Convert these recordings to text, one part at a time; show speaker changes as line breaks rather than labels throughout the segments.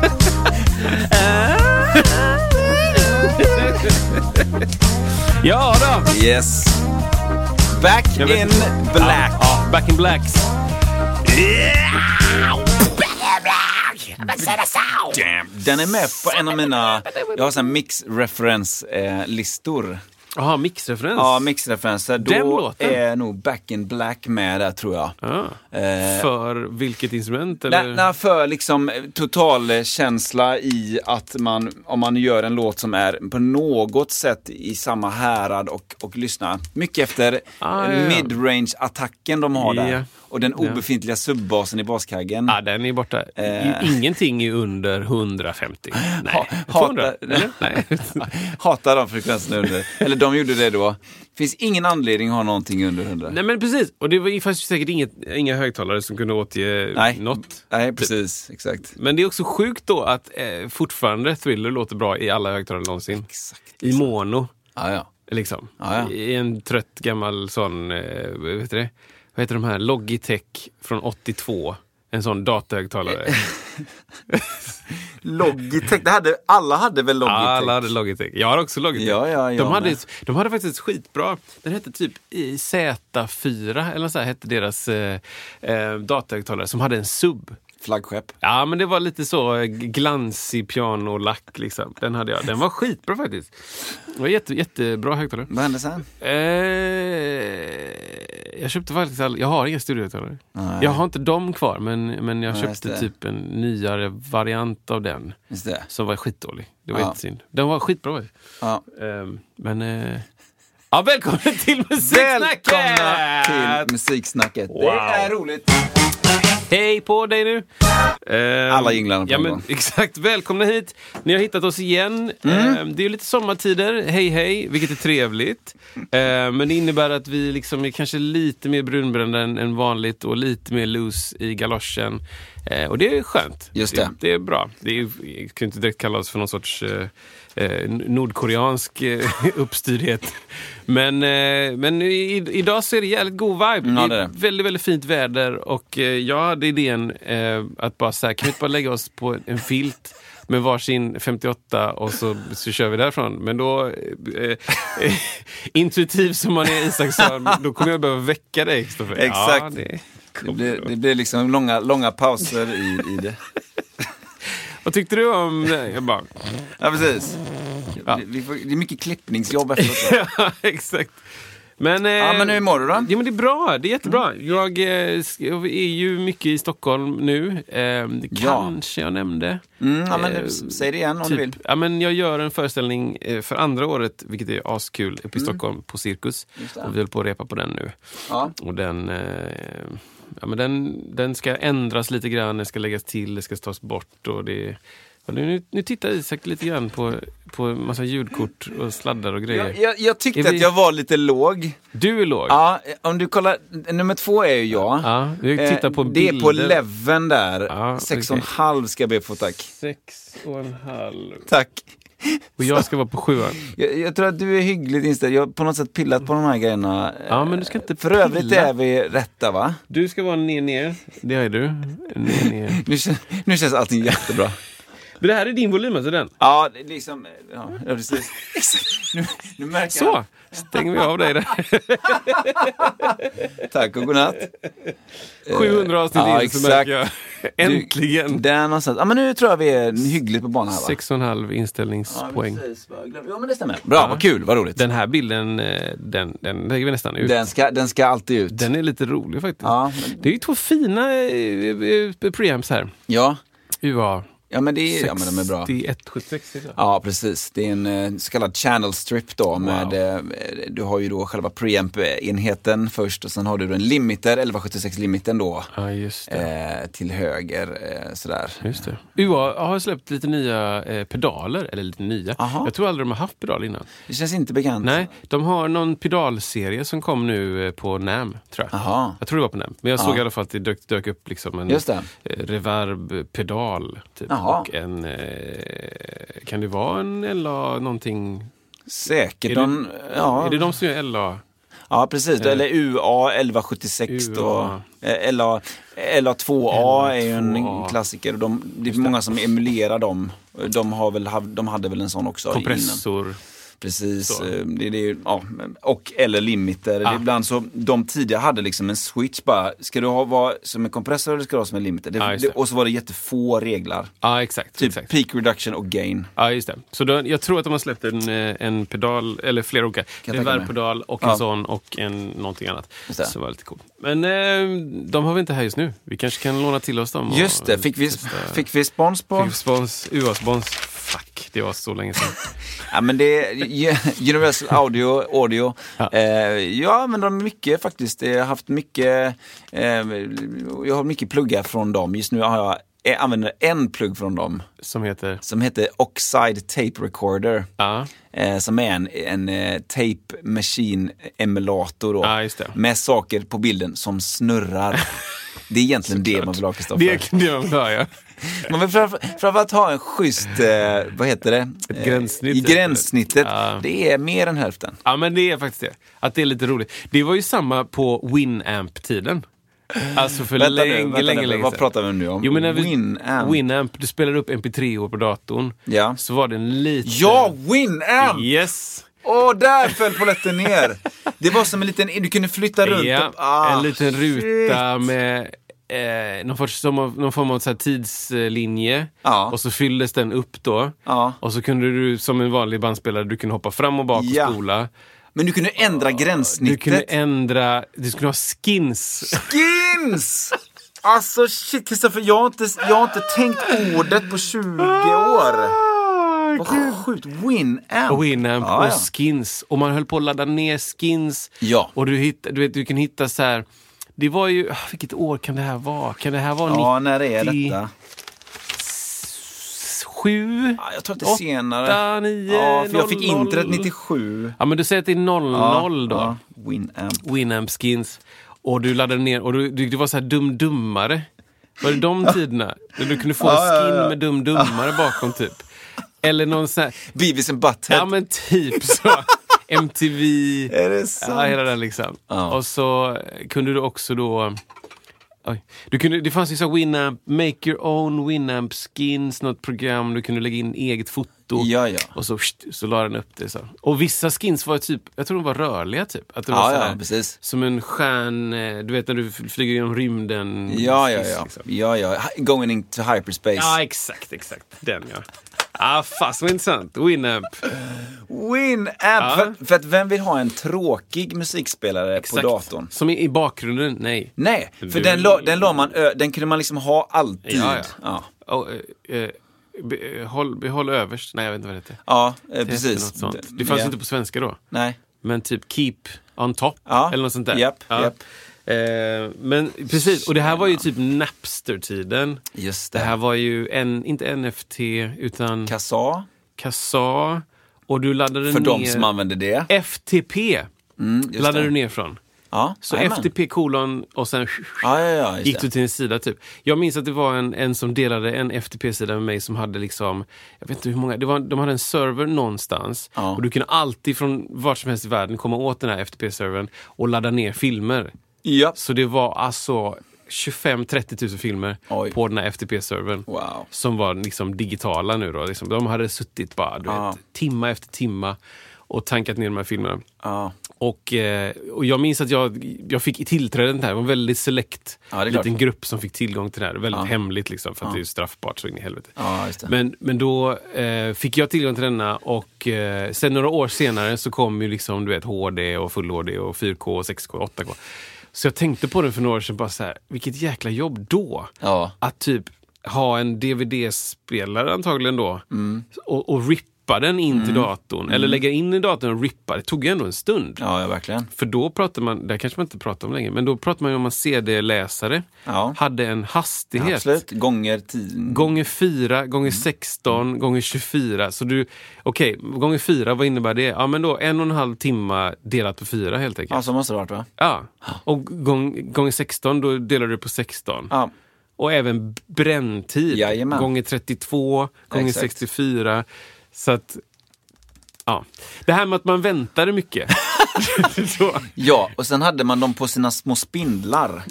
Ja då!
Yes. Back
Jag vet
in
inte.
black.
Ja, ja, back in blacks.
Den är med på en av mina... Jag har sån här mix-reference-listor.
Jaha, mixreferens.
Ja, mixreferenser. Då
Den låten?
är nog Back in Black med där, tror jag.
Ah.
Eh,
För vilket instrument? Eller?
Nej, nej, för liksom totalkänsla i att man, om man gör en låt som är på något sätt i samma härad och, och lyssnar mycket efter
Ah, ja, ja.
midrange-attacken de har
Ja.
där. Och den
Ja. Ah,
obefintliga subbasen i baskaggen.
Ja, den är borta.
Eh.
Ingenting är under 150. Nej,
Ha-
200.
hatar-
Eller? Nej.
Hatar de frekvenserna under. Eller de gjorde det då. Finns ingen anledning att ha någonting under 100.
Nej, men precis. Och det var- det fanns ju säkert inget, inga högtalare som kunde återge
Nej.
något. typ.
Nej, precis. Exakt.
Men det är också sjukt då att eh, fortfarande Thriller låter bra i alla högtalare någonsin. I mono,
Ja, ja.
liksom.
Ja, ja.
I en trött gammal sån, eh, vad heter det? Vad heter de här? Logitech från 82. En sån
Eh,
datahögtalare.
Logitech. Det hade, alla hade väl Logitech?
Alla hade Logitech. Jag har också Logitech.
Ja, ja, jag
de, hade,
med.
ett- de hade faktiskt ett skitbra, den hette typ i Z4 eller så här hette deras eh, eh, datahögtalare som hade en sub.
Flaggskepp.
Ja, men det var lite så eh, glansig pianolack liksom. Den hade jag. Den var skitbra faktiskt. Det var jätte, jättebra högtalare.
Vad hände sen?
Eh, jag köpte faktiskt all, Jag har inga studiohögtalare. Jag har inte dem kvar, men, men jag
Nej, just
köpte
det.
typ en nyare variant av den.
Just det.
Som var skitdålig. Det var
Ja.
jättesynd. Den var skitbra faktiskt.
Ja.
Ehm, men... eh, ja, välkommen till Musiksnacket!
Välkomna till musiksnacket.
Wow.
Det är roligt.
Hej på dig nu! Ehm,
Alla jinglarna på
ja,
en
men,
gång.
Exakt, välkomna hit! Ni har hittat oss igen.
Mm.
Ehm, det är ju lite sommartider, hej hej, vilket är trevligt. Ehm, men det innebär att vi liksom är kanske lite mer brunbrända än, än vanligt och lite mer loose i galoschen. Ehm, och det är skönt.
Just det.
Det är bra. Det är, ju- vi kan ju inte direkt kalla oss för någon sorts eh, eh, nordkoreansk eh, uppstyrdhet. Men, eh, men i, idag så är det jävligt god vibe.
Ja,
det
det
är
är det.
väldigt, väldigt fint väder och eh, jag hade idén eh, att bara så här, kan vi inte bara lägga oss på en filt med varsin 58 och så, så kör vi därifrån. Men då, eh, eh, intuitiv som man är Isaksson, då kommer jag behöva väcka dig. Kristoffer. Ja,
Exakt.
det
Det
kommer
blir,
då.
det blir liksom långa, långa pauser i, i det.
Vad tyckte du om... Jag bara,
Ja, precis.
Ja.
Vi- Vi får, det är mycket klippningsjobb efteråt.
Ja, exakt. Men, eh,
Ja, men hur mår du då?
Ja, men det är bra. Det är jättebra. Jag, eh, sk- jag är ju mycket i Stockholm nu. Eh, det
Ja.
kanske jag nämnde.
Mm, ja, men
Eh,
s- säg det igen om du vill.
typ, Ja, men jag gör en föreställning eh, för andra året, vilket är askul, uppe i Stockholm på Cirkus.
Mm. Just det.
Och vi håller på att repa på den nu.
Ja.
Och den, eh, ja, men den, den ska ändras lite grann, den ska läggas till, det ska tas bort. Och det, och nu, nu tittar Isak lite grann på, på en massa ljudkort och sladdar och grejer.
Jag, jag, jag tyckte
Är vi-
att jag var lite låg.
Du är låg.
Ja, om du kollar, nummer två är ju jag.
Ja, vi tittar på
Eh, det är på
bilder.
leveln där.
Ja,
Sex och en
okej.
halv ska jag be att få tack.
Sex och en halv.
Tack.
Och jag ska vara på sjuan.
Jag, jag tror att du är hyggligt inställd. Jag har på något sätt pillat på de här grejerna.
Ja, men du ska inte
För övrigt
pilla.
är vi rätta va?
Du ska vara ner, ner. Det är du. Ner, ner.
Nu, kän- nu känns allting jättebra.
Men det här är din volym, alltså den.
Ja, det är liksom... Ja, ja, precis. Nu, nu märker
Så, stänger vi av dig där.
jag. Tack och godnatt.
700 avsnitt
Ja,
in så
exakt.
märker jag. Äntligen!
Där någonstans. Ja, men nu tror jag vi är hyggligt på banan här va?
Sex och en halv
ja,
inställningspoäng.
precis. Jo, men det stämmer. Bra, vad kul, vad roligt. Den,
Den här bilden, eh, den, den lägger vi nästan ut.
ska, den ska alltid ut.
Den är lite rolig faktiskt.
Ja,
Det är ju två fina eh, eh, preamps här.
ja.
UA
Ja men, det är, ja, men de är bra.
6176 är det.
Ja, precis. Det är en eh, så kallad channel strip då. Med, eh, du har ju då själva preamp-enheten först och sen har du en limiter, 1176-limitern då,
Ja, just det.
eh, till höger. Eh, sådär.
Just det. UA har släppt lite nya eh, pedaler, eller lite nya.
Aha.
Jag tror aldrig de har haft pedal innan.
Det känns inte bekant.
Nej, de har någon pedalserie som kom nu eh, på NAM, tror jag.
Aha.
Jag tror det var på NAM. Men jag såg i alla fall att det dök, dök upp liksom en
Just det.
eh, reverb-pedal. Typ.
Jaha.
Och en... Eh, kan det vara en LA någonting?
Säkert.
Är
De,
det,
ja.
är det de Eh. som gör LA?
Ja, precis. Eller UA 1176 då.
UA.
Eh, LA, LA2A är ju en
2A.
klassiker. De, det är många som emulerar dem. De, har väl, hav- de hade väl en sån också innan.
Kompressor?
Precis,
Så.
eh, det, det, är- ja, och eller limiter. Det är
Ah.
Ibland så, de tidigare hade liksom en switch bara, ska du ha vara som en kompressor eller ska du ha som en limiter? Det,
Ja, just
det.
det.
Och så var det jättefå regler.
Ja, exakt.
Typ
exakt.
peak reduction och gain.
Ja, just det. Så då, jag tror att de har släppt en, eh, en pedal, eller flera olika.
tänka mig.
Reverbpedal och en
Ja.
sån och en någonting annat.
Just det.
Så var det lite coolt. Men eh, de har vi inte här just nu. Vi kanske kan låna till oss dem. och
Just det, fick vi,
testa.
fick vi spons på?
Fick spons, UA-spons. Fuck, det var så länge sedan.
Ja, men det är Universal Audio, Audio. Ja.
Ja.
Eh, jag använder dem mycket faktiskt. Jag har haft mycket, eh, jag har mycket pluggar från dem. Just nu har jag, jag använder en plugg från dem
Som heter...
som heter Oxide Tape Recorder.
Ja,
Eh, som är en, en eh, tape machine emulator då.
Ja, just det.
Med saker på bilden som snurrar. Det är egentligen det man vill ha Kristoffer.
det är egentligen det man vill höra. ja.
Man vill framför- framförallt ha en schysst, eh, vad heter det? Eh,
gränssnitt,
I gränssnittet.
Ja.
Det är mer än hälften.
Ja, men det är faktiskt det. Att det är lite roligt. Det var ju samma på Winamp-tiden. Alltså för
Vänta nu,
länge,
vänta
länge,
nu.
länge
Vad
sedan.
pratar vi nu om?
Jo, men när vi,
Winamp.
Winamp. Du spelar upp mp3-or på datorn.
Ja.
Så var det en liten...
Ja, Winamp!
Yes!
Åh, där föll polletten ner. Det var som en liten, du kunde flytta runt.
Ja,
och- ah,
en liten
shit.
ruta med eh, någon, sorts, som av, någon form av så här tidslinje.
Ja.
Och så fylldes den upp då.
Ja.
Och så kunde du som en vanlig bandspelare du kunde hoppa fram och bak
Ja.
och spola.
Men du kunde ändra
Du
gränssnittet.
kunde ändra, du skulle ha skins.
Skins! Alltså shit Kristoffer, jag, har inte- jag har inte tänkt ordet på 20 år. Vad sjukt, Winamp.
Winamp
Ja,
Ah,
ja.
och skins. Och man höll på att ladda ner skins.
Ja.
Och du, hitt, du, vet, du kan hitta så här... Det var ju... ah, Vilket år kan det här vara? Kan det här vara
Ja, när är
90?
detta?
7?
Ja, Jag tror att det är senare.
Åtta, nio,
ja, för jag fick
noll, noll.
internet 97.
Ja, men du säger att det är 00
Ja,
då.
ja, Winamp.
Winamp skins. Och du laddade ner och du, du, det var så här dum-dummare. Var det de tiderna? Där du kunde få en
Ja, ja,
skin
ja.
med dum-dummare bakom typ. Eller någon sån här...
Beavis and Butthead.
Ja men typ så. MTV.
Är det sant?
Ja, hela den liksom. Och så kunde du också då... Oj. Du kunde, det fanns ju så här Winamp, Make Your Own Winamp Skins, något program. Du kunde lägga in eget foto.
Ja, ja.
Och så, pst, så la den upp det. Så. Och vissa skins var typ, jag tror de var rörliga typ. Att det var
Ja,
så
ja,
här,
precis.
Som en stjärn, eh, du vet när du f- flyger genom rymden.
Ja, ja,
skiss,
ja.
liksom.
ja, ja. Hi- Going into hyperspace.
Ja, exakt, exakt. Den ja. Ah, fast vad intressant. Winamp.
Winamp! För, för att vem vill ha en tråkig musikspelare
Exakt.
på datorn?
Som i, i bakgrunden, nej.
Nej, för
Du-
den, la, den, la man, ö- den kunde man liksom ha alltid.
Ja, ja.
ja.
Och, eh, eh, be- eh, håll, behåll överst. Nej, jag vet inte vad det heter.
Ja, eh,
Det hette
precis.
något sånt. Det fanns
Ja.
inte på svenska då.
Nej.
Men typ keep on top
Ja.
eller något sånt där.
Japp,
Ja.
japp.
Eh, men precis, och det här var ju typ Napster-tiden.
Just det.
Det här var ju en, inte NFT utan
Kassa,
Kassa. Och du laddade
för
ner
de som använder det.
FTP.
Mm, just
laddade
det.
du ner från.
Ja,
Så
jajamän.
FTP kolon och sen
Ja, ja, ja, just
gick
det.
du till en sida typ. Jag minns att det var en, en som delade en FTP-sida med mig som hade liksom, jag vet inte hur många, det var, de hade en server någonstans
Ja.
och du kunde alltid från vart som helst i världen komma åt den här FTP-servern och ladda ner filmer.
Ja.
Så det var alltså 25-30 000 filmer
Oj.
på den här FTP-servern.
Wow.
Som var liksom digitala nu då. Liksom. De hade suttit bara, du
Ja.
vet, timma efter timma och tankat ner de här filmerna.
Ja.
Och, eh, och jag minns att jag, jag fick tillträde till det här. Det var en väldigt select
Ja, det är klart.
liten grupp som fick tillgång till det här. Väldigt hemligt liksom, för att det är ju straffbart så in i helvete.
Ja, just det.
Men, men då eh, fick jag tillgång till denna och eh, sen några år senare så kom ju liksom, du vet, HD och full HD och 4K, och 6K, och 8K. Så jag tänkte på det för några år sedan, bara så här, vilket jäkla jobb då.
Ja.
Att typ ha en DVD-spelare antagligen då och, och rippa den in
Mm.
till datorn. Eller lägga in i datorn och rippa. Det tog ju ändå en stund.
Ja, ja, verkligen.
För då pratar man, det här kanske man inte pratar om längre, men då pratar man ju om att CD-läsare
Ja.
hade en hastighet.
Absolut. Mm. Gånger tio.
Gånger 4, gånger 16, gånger 24. Så du, okej, gånger 4, vad innebär det? Ja, men då en och en halv timma delat på 4 helt enkelt.
Ja, så måste det varit va?
Ja. Och gång, gånger 16, då delar du på 16.
Ja.
Och även bränntid.
Jajamän.
Gånger 32, gånger
Exakt.
64. Så att, ja. Det här med att man väntade mycket. Så.
ja, och sen hade man dem på sina små spindlar.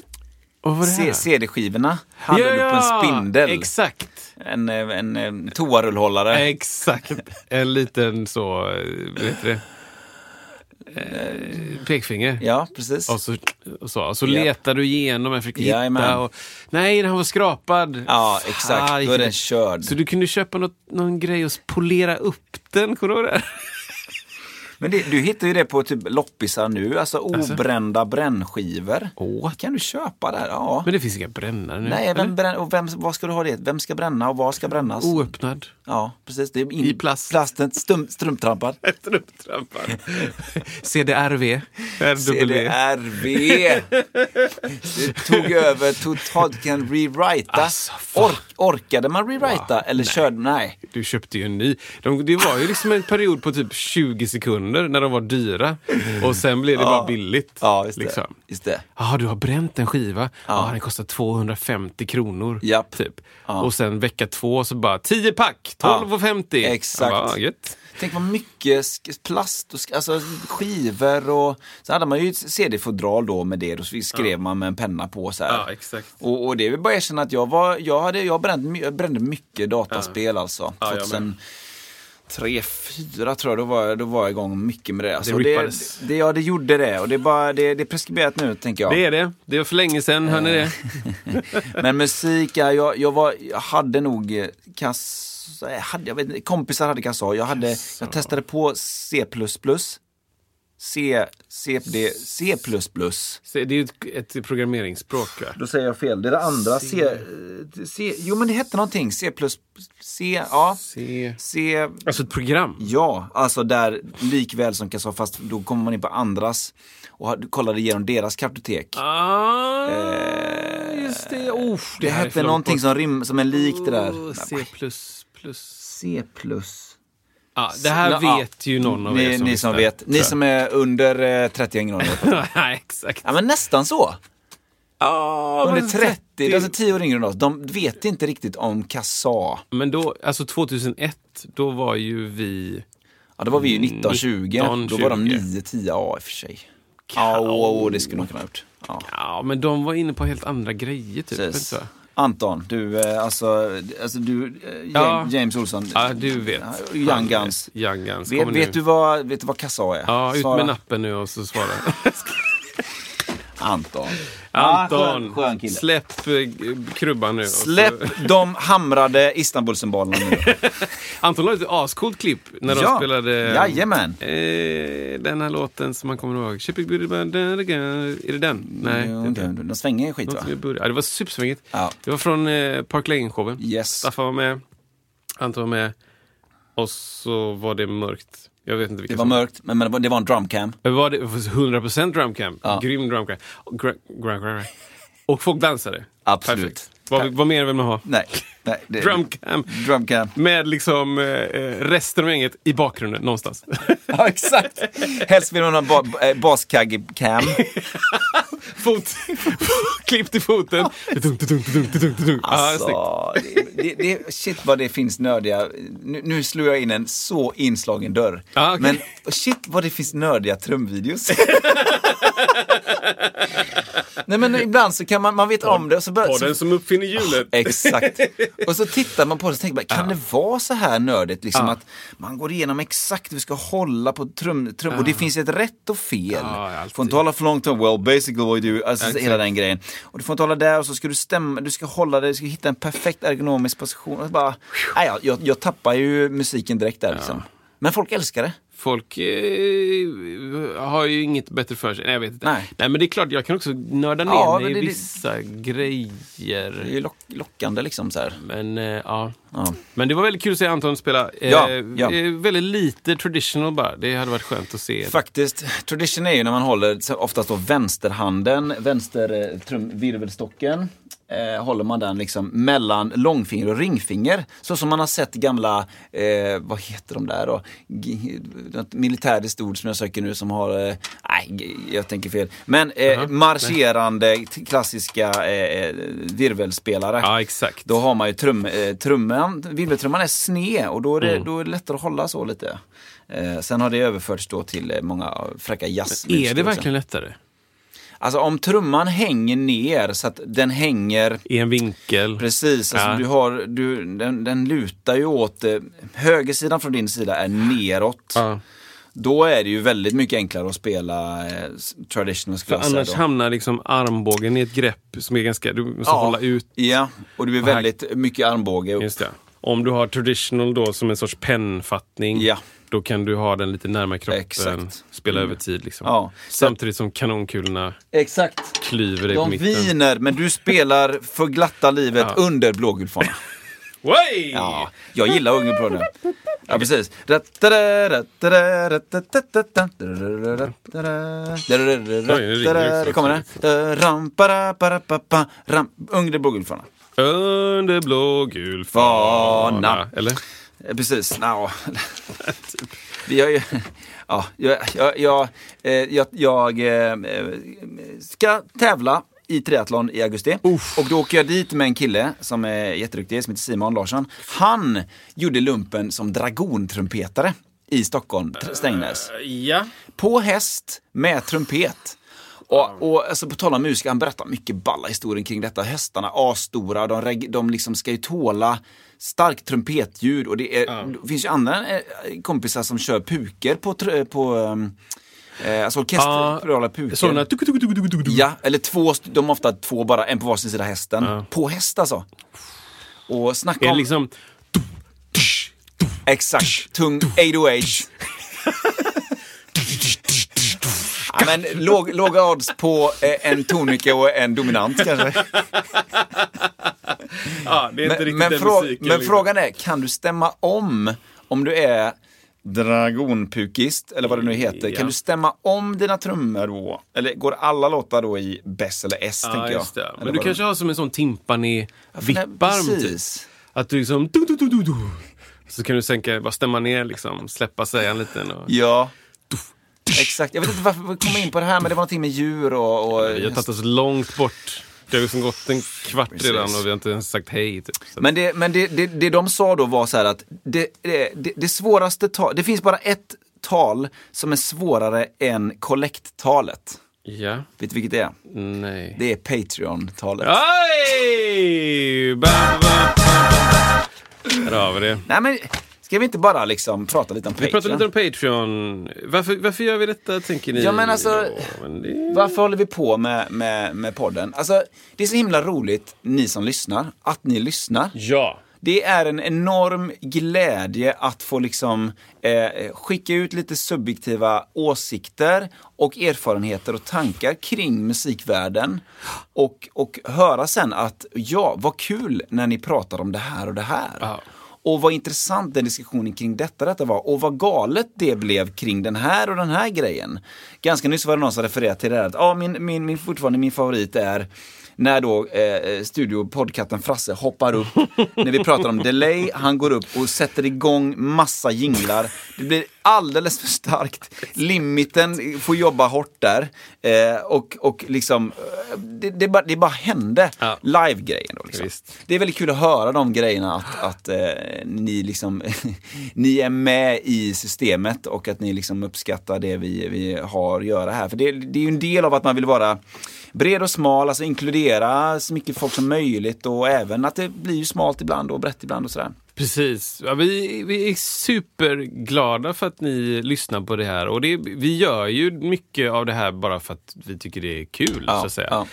Och vad var det här?
C- CD-skivorna hade du på en spindel.
Exakt.
en, eh, en, eh, toarullhållare.
Exakt. En liten så, eh, vad heter det? Eh, Pekfinger.
Ja, precis.
Och så, och så, och så
Ja.
letar du igenom den för att
Jajamän.
hitta. Och, nej, den här var skrapad.
Ja, exakt.
Fan,
Då är den körd.
Så du kunde köpa något, någon grej och polera upp den. Kommer du ihåg det?
Men det, du hittar ju det på typ loppisar nu, alltså obrända brännskivor.
Åh.
Kan du köpa där? Ja.
Men det finns inga brännare nu.
Nej, vem
eller?
brän, och vem, vad ska du ha det? Vem ska bränna och vad ska brännas?
Oöppnad.
Ja, precis. Det är in,
I plast.
Plasten, stum, strumptrampad.
Efter upptrampad. CDRV. RW.
CDRV! Det tog över totalt, kan rewrita.
Alltså, fan.
Ork- orkade man rewrita eller körde, nej.
Du köpte ju en ny. De, det var ju liksom en period på typ 20 sekunder när de var dyra. Och sen blev det bara billigt.
Ja, just det.
liksom.
Just det.
Jaha, du har bränt en skiva. Ja, den kostar 250 kronor.
Japp.
Typ. Och sen vecka två så bara 10 pack, 12,50. Jag
Exakt.
Bara, "Ah, gött.
Tänk vad mycket sk- plast och sk- alltså skivor och... Sen hade man ju ett CD-fodral då med det, då skrev man med en penna på så här.
Ja, exakt.
Och, och det vill bara erkänna att jag, var, jag, hade, jag, brände, my- jag brände mycket dataspel alltså.
Ja, jag
2003, 2004 tror jag, då var, jag- då var jag igång mycket med det. Alltså,
Det
det,
rippades.
det, ja, det gjorde det. Och det är, bara, det, det är preskriberat nu, tänker jag.
Det är det. Det var för länge sedan,
Eh.
hör ni det?
Men musik, ja, jag, jag, var, jag hade nog eh, kass... Jag hade, jag vet, inte, kompisar hade kassar. Jag, hade, jag testade på C++. C, C, D, C++.
Så Det är ju ett, ett programmeringsspråk. Va?
Då säger jag fel. Det är det andra. C, eh, C, jo, men det hette någonting. C++. C, ja.
C.
C,
Alltså ett program.
ja. Alltså där likväl som kassar, fast då kommer man in på andras och ha- kollade igenom deras kartotek.
Ah, just det. Oh, det,
Eh. det
här är för
hette
långt
någonting
bort.
som, rim, som är likt det där.
Oh, C++.
C++.
Ja, det här
Ja,
vet ju någon av er
ni,
som
ni som
lyssnar,
vet.
tror
Ni
jag.
som är under eh, 30 har ingen aning.
ja, exakt.
Ja men nästan så.
Oh,
Under 30, alltså 10 år yngre än oss. De vet inte riktigt om kassa.
Men då, alltså 2001, då var ju vi...
Ja då var vi ju
Mm,
19, 20. Då var de
19-20.
9, 10, ja i och för sig. Ja, åh, åh, det skulle de kunna ha gjort. Ja,
Ja, men de var inne på helt andra grejer. Typ.
precis.
Vet du?
Anton, du, eh, alltså, alltså du, eh, James,
Ja.
James Olsson.
Ja, du vet.
Ja, Young Guns.
Young Guns.
Vet,
Kommer
vet,
nu.
du vad, vet du vad kassa är?
Ja, ut
Svara.
med nappen nu och så svara.
Anton.
Anton,
Ja, skön, Ah, skön kille.
släpp eh, krubban nu. och så-
Släpp de hamrade Istanbulsymbolerna nu.
Anton la ett ascoolt klipp när de
Ja,
spelade eh,
jajamän.
eh, den här låten som man kommer ihåg. Chip it good, it bad, da, da, da. Är det den? Nej. det är
Jo,
inte den.
de, de svänger ju skit
Något
va?
som vi började- Ja, det var supersvängigt.
Ja.
Det var från eh, Park Lane-showen.
Yes.
Staffan var med, Anton var med och så var det mörkt. Jag vet inte vilka
Det var
som-
mörkt, men, men det var- det var en drumcam.
Var det 100% drumcam?
Ja.
Grym drumcam. Och gra- gra- gra- gra- Och folk dansade.
Absolut.
Perfekt. Vad, vad mer vill man ha?
Nej, nej. Det,
Drumcam.
Drumcam.
Med liksom eh, eh, resten av gänget i bakgrunden någonstans.
Ja, exakt. Helst vill man ha ba- eh, baskagge-cam.
Fot. Klipp till foten. Dunk, dunk, dunk, dunk, dunk, dunk. Ja,
Alltså.
snyggt.
Så, det, det, det, shit vad det finns nördiga. Nu, nu slår jag in en så inslagen dörr.
Ja, okej.
Men shit vad det finns nördiga trumvideos. Nej men ibland så kan man, man vet om det och så börjar... så-
Podden som uppfinner hjulet.
Exakt. Och så tittar man på det och så tänker man, kan det vara så här nördigt? Liksom att man går igenom exakt hur vi ska hålla på trum, trum och det finns ett rätt och fel.
Ja, alltid.
Du får inte hålla för långt om, well basically what you do, alltså
Exakt.
hela den grejen. Och du får inte hålla där och så ska du stämma, du ska hålla det, du ska hitta en perfekt ergonomisk position. Och bara, nej, jag, jag, jag tappar ju musiken direkt där liksom. Men folk älskar det.
Folk eh, har ju inget bättre för sig. Nej, jag vet inte.
Nej.
men det är klart, jag kan också nörda ner
Ja,
mig
men
i
det- det-
vissa grejer.
Det är ju lock, lockande liksom så här.
Men eh, ja.
Ja.
Men det var väldigt kul att se Anton spela. Eh,
Ja, ja.
eh, Väldigt lite traditional bara. Det hade varit skönt att se.
Faktiskt, tradition är ju när man håller så oftast då vänsterhanden, vänster eh, trum, virvelstocken. Eh, håller man den liksom mellan långfinger och ringfinger. Så som man har sett gamla, eh, vad heter de där då? G- något militäriskt ord som jag söker nu som har, eh, nej g- jag tänker fel. Men eh, marscherande t- klassiska eh, eh, virvelspelare.
Ja, exakt.
Då har man ju trum, eh, trumman, virveltrumman är sned och då är,
Mm.
det, då är det lättare att hålla så lite. Eh, sen har det överförts då till eh, många fräcka jazz.
Är det verkligen lättare?
Alltså om trumman hänger ner så att den hänger
I en vinkel?
Precis, alltså
Ja.
du har, du, den, den lutar ju åt, eh, högersidan från din sida är neråt.
Ja.
Då är det ju väldigt mycket enklare att spela eh, s- traditional
För
skulle jag säga
annars
alltså då.
hamnar liksom armbågen i ett grepp som är ganska... Du måste
Ja.
hålla ut.
Ja, och det blir
Och här-
väldigt mycket armbåge upp.
Just det. Om du har traditional då som en sorts pennfattning,
Ja.
då kan du ha den lite närmare kroppen,
Exakt. Mm.
spela över tid. Liksom.
Ja.
Samtidigt som kanonkulorna
Exakt.
klyver dig på
De
mitten.
viner, men du spelar för glatta livet under blågulfanan.
Oj!
Ja, jag gillar ungerplåden. Ja, precis. Där kommer den. Ung det blågulfanan.
Under blågul fana.
Fana.
Eller?
Eh, Precis, no. Vi har ju... Ja, jag, jag, jag, eh, jag, jag eh, eh, ska tävla i triathlon i augusti. Och då åker jag dit med en kille som är jätteduktig, som heter Simon Larsson. Han gjorde lumpen som dragontrumpetare i Stockholm, Tr- Strängnäs.
Ja.
På häst med trumpet. Och, och alltså på tal om musik, han berättar mycket balla historien kring detta. Hästarna, asstora, de, reg- de liksom ska ju tåla starkt trumpetljud. Och det, är, det finns ju andra eh, kompisar som kör puker på, tr- på ehm, eh, alltså orkesterplurala puker.
Sådana... tuk, tuk, tuk, tuk, tuk.
Ja, eller två, st- de har ofta två bara, en på varsin sida hästen. På häst alltså. Och
Är
snacka
det
om,
liksom...
exakt, tung 808. Ja, men låg, låga odds på eh, en toniker och en dominant kanske.
Ja, det är inte
Men,
riktigt
men,
den
frå-
musiken.
men
liksom.
frågan är, kan du stämma om om du är dragonpukist eller vad det nu heter?
Ja.
Kan du stämma om dina trummor då? Eller går alla låtar då i bess eller s,
Ja,
tänker jag?
just det.
Eller
Men du
vad
kanske har typ? som en sån timpani-vippar.
Ja, precis.
Att du liksom... Du, du, du, du, du. Så kan du sänka, bara stämma ner liksom, släppa sägan lite. Och...
Ja. Exakt. Jag vet inte varför vi kom in på det här, men det var någonting med djur och... och
Vi har tagit oss långt bort. Det har liksom gått en kvart
Precis.
redan och vi har inte ens sagt hej. Typ. Så-
Men, det, men det, det, det de sa då var så här att det, det, det, det svåraste tal, det finns bara ett tal som är svårare än kollekttalet.
Ja,
Vet du vilket det är?
nej.
Det är Patreon-talet.
Aj! Ba, ba, ba. Där har vi det.
Nej men, ska vi inte bara liksom prata lite om
Vi
Patreon?
pratade lite om Patreon. Varför, varför gör vi detta, tänker ni?
Ja, men alltså-
Ja, men det...
Varför håller vi på med, med, med podden? Alltså, det är så himla roligt, ni som lyssnar, att ni lyssnar.
ja.
Det är en enorm glädje att få liksom eh, skicka ut lite subjektiva åsikter och erfarenheter och tankar kring musikvärlden. Och, och höra sen att ja, vad kul när ni pratar om det här och det här.
Ja.
Och vad intressant den diskussionen kring detta, detta var. Och vad galet det blev kring den här och den här grejen. Ganska nyss var det någon som refererade till det här att ja, min, min, min, fortfarande min favorit är när då eh, studiopodkatten Frasse hoppar upp när vi pratar om delay. Han går upp och sätter igång massa jinglar. Det blir alldeles för starkt. Limiten får jobba hårt där. Eh, och, och liksom, eh, det, det, bara, det bara hände.
Ja.
Live-grejen då. Liksom.
Visst.
Det är väldigt kul att höra de grejerna, att, att eh, ni, liksom, ni är med i systemet och att ni liksom uppskattar det vi, vi har att göra här. För det, det är ju en del av att man vill vara bred och smal, alltså inkludera så mycket folk som möjligt och även att det blir ju smalt ibland och brett ibland och sådär.
Precis. Ja, vi, vi är superglada för att ni lyssnar på det här. Och det, vi gör ju mycket av det här bara för att vi tycker det är kul.
Ja,
så att säga.
ja.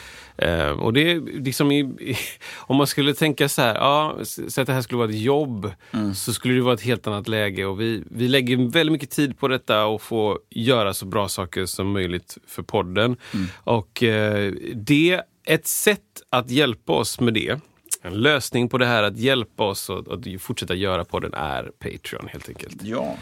Eh, och det är liksom i, i, om man skulle tänka så här, ja, s- så att det här skulle vara ett jobb, så skulle det vara ett helt annat läge. Och vi, vi lägger väldigt mycket tid på detta och får göra så bra saker som möjligt för podden. Och eh, det, ett sätt att hjälpa oss med det, en lösning på det här att hjälpa oss att, att fortsätta göra podden är Patreon helt enkelt.
Ja.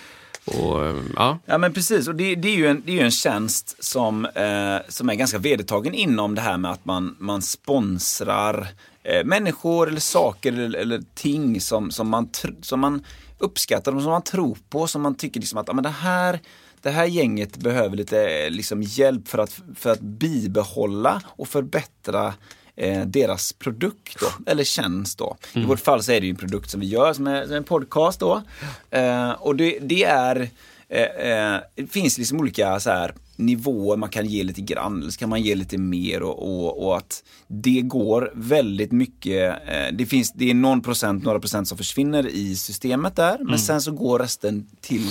Och, eh, ja.
Ja men precis, och det, det, är, ju en, det är ju en tjänst som, eh, som är ganska vedertagen inom det här med att man, man sponsrar eh, människor eller saker eller, eller ting som, som, man tr- som man uppskattar, som man tror på, som man tycker liksom att ja, men det, här, det här gänget behöver lite eh, liksom, hjälp för att, för att bibehålla och förbättra eh, deras produkt då, eller tjänst då. I vårt fall så är det ju en produkt som vi gör som är, som är en podcast då. Eh, och det, det är Eh, eh, det finns liksom olika så här, nivåer man kan ge lite grann, eller så kan man ge lite mer och, och, och att det går väldigt mycket. Eh, det, finns, det är någon procent, några procent som försvinner i systemet där, men sen så går resten till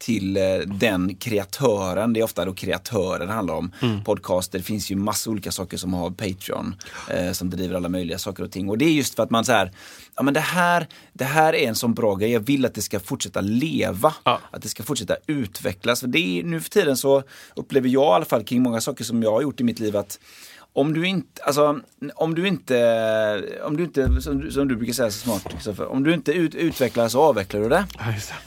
till eh, den kreatören, det är ofta då kreatörer det handlar om. Podcaster, det finns ju massa olika saker som har Patreon eh, som driver alla möjliga saker och ting. Och det är just för att man så här, ja men det här, det här är en sån bra grej, jag vill att det ska fortsätta leva
Ja.
att det ska fortsätta utvecklas. För det är, nu för tiden så upplever jag i alla fall kring många saker som jag har gjort i mitt liv att om du inte, alltså, om du inte, om du inte som, du, som du brukar säga så smart, Kristoffer, om du inte ut, utvecklar så avvecklar du det.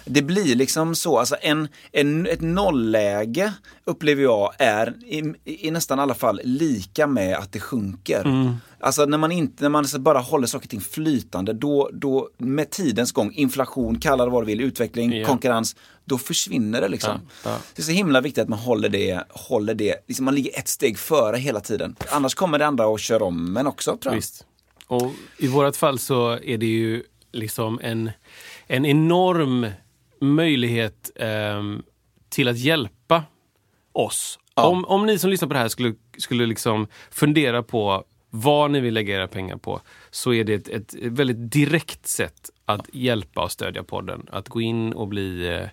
Det blir liksom så, alltså en, en, ett nollläge upplever jag är i, i nästan alla fall lika med att det sjunker.
Mm.
Alltså när man, inte, när man så bara håller saker och ting flytande, då, då med tidens gång, inflation, kalla det vad du vill, utveckling,
Ja.
konkurrens, då försvinner det liksom.
Ja, ja.
Det är så himla viktigt att man håller det, håller det liksom man ligger ett steg före hela tiden. Annars kommer det andra och kör om men också tror jag.
Visst. Och I vårt fall så är det ju liksom en, en enorm möjlighet ehm, till att hjälpa oss. Om, om ni som lyssnar på det här skulle, skulle liksom fundera på vad ni vill lägga era pengar på så är det ett, ett väldigt direkt sätt att hjälpa och stödja podden. Att gå in och bli eh,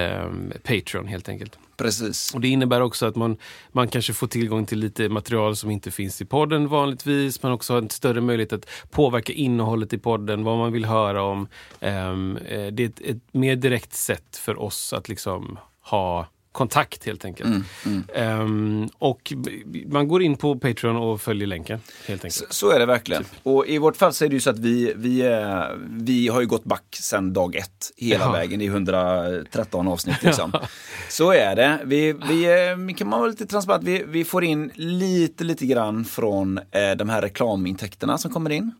ehm, Patreon helt enkelt.
Precis.
Och Det innebär också att man, man kanske får tillgång till lite material som inte finns i podden vanligtvis. Man också har en större möjlighet att påverka innehållet i podden, vad man vill höra om. Ehm, eh, det är ett, ett mer direkt sätt för oss att liksom ha kontakt helt enkelt. Ehm, och b- man går in på Patreon och följer länken helt enkelt.
Så är det verkligen. Och i vårt fall så är det ju så att vi, vi, eh, vi har ju gått back sedan dag ett hela
Ja.
vägen i 113 avsnitt liksom. så är det. Vi, vi eh, kan man vara lite transparent, vi, vi får in lite, lite grann från eh, de här reklamintäkterna som kommer in.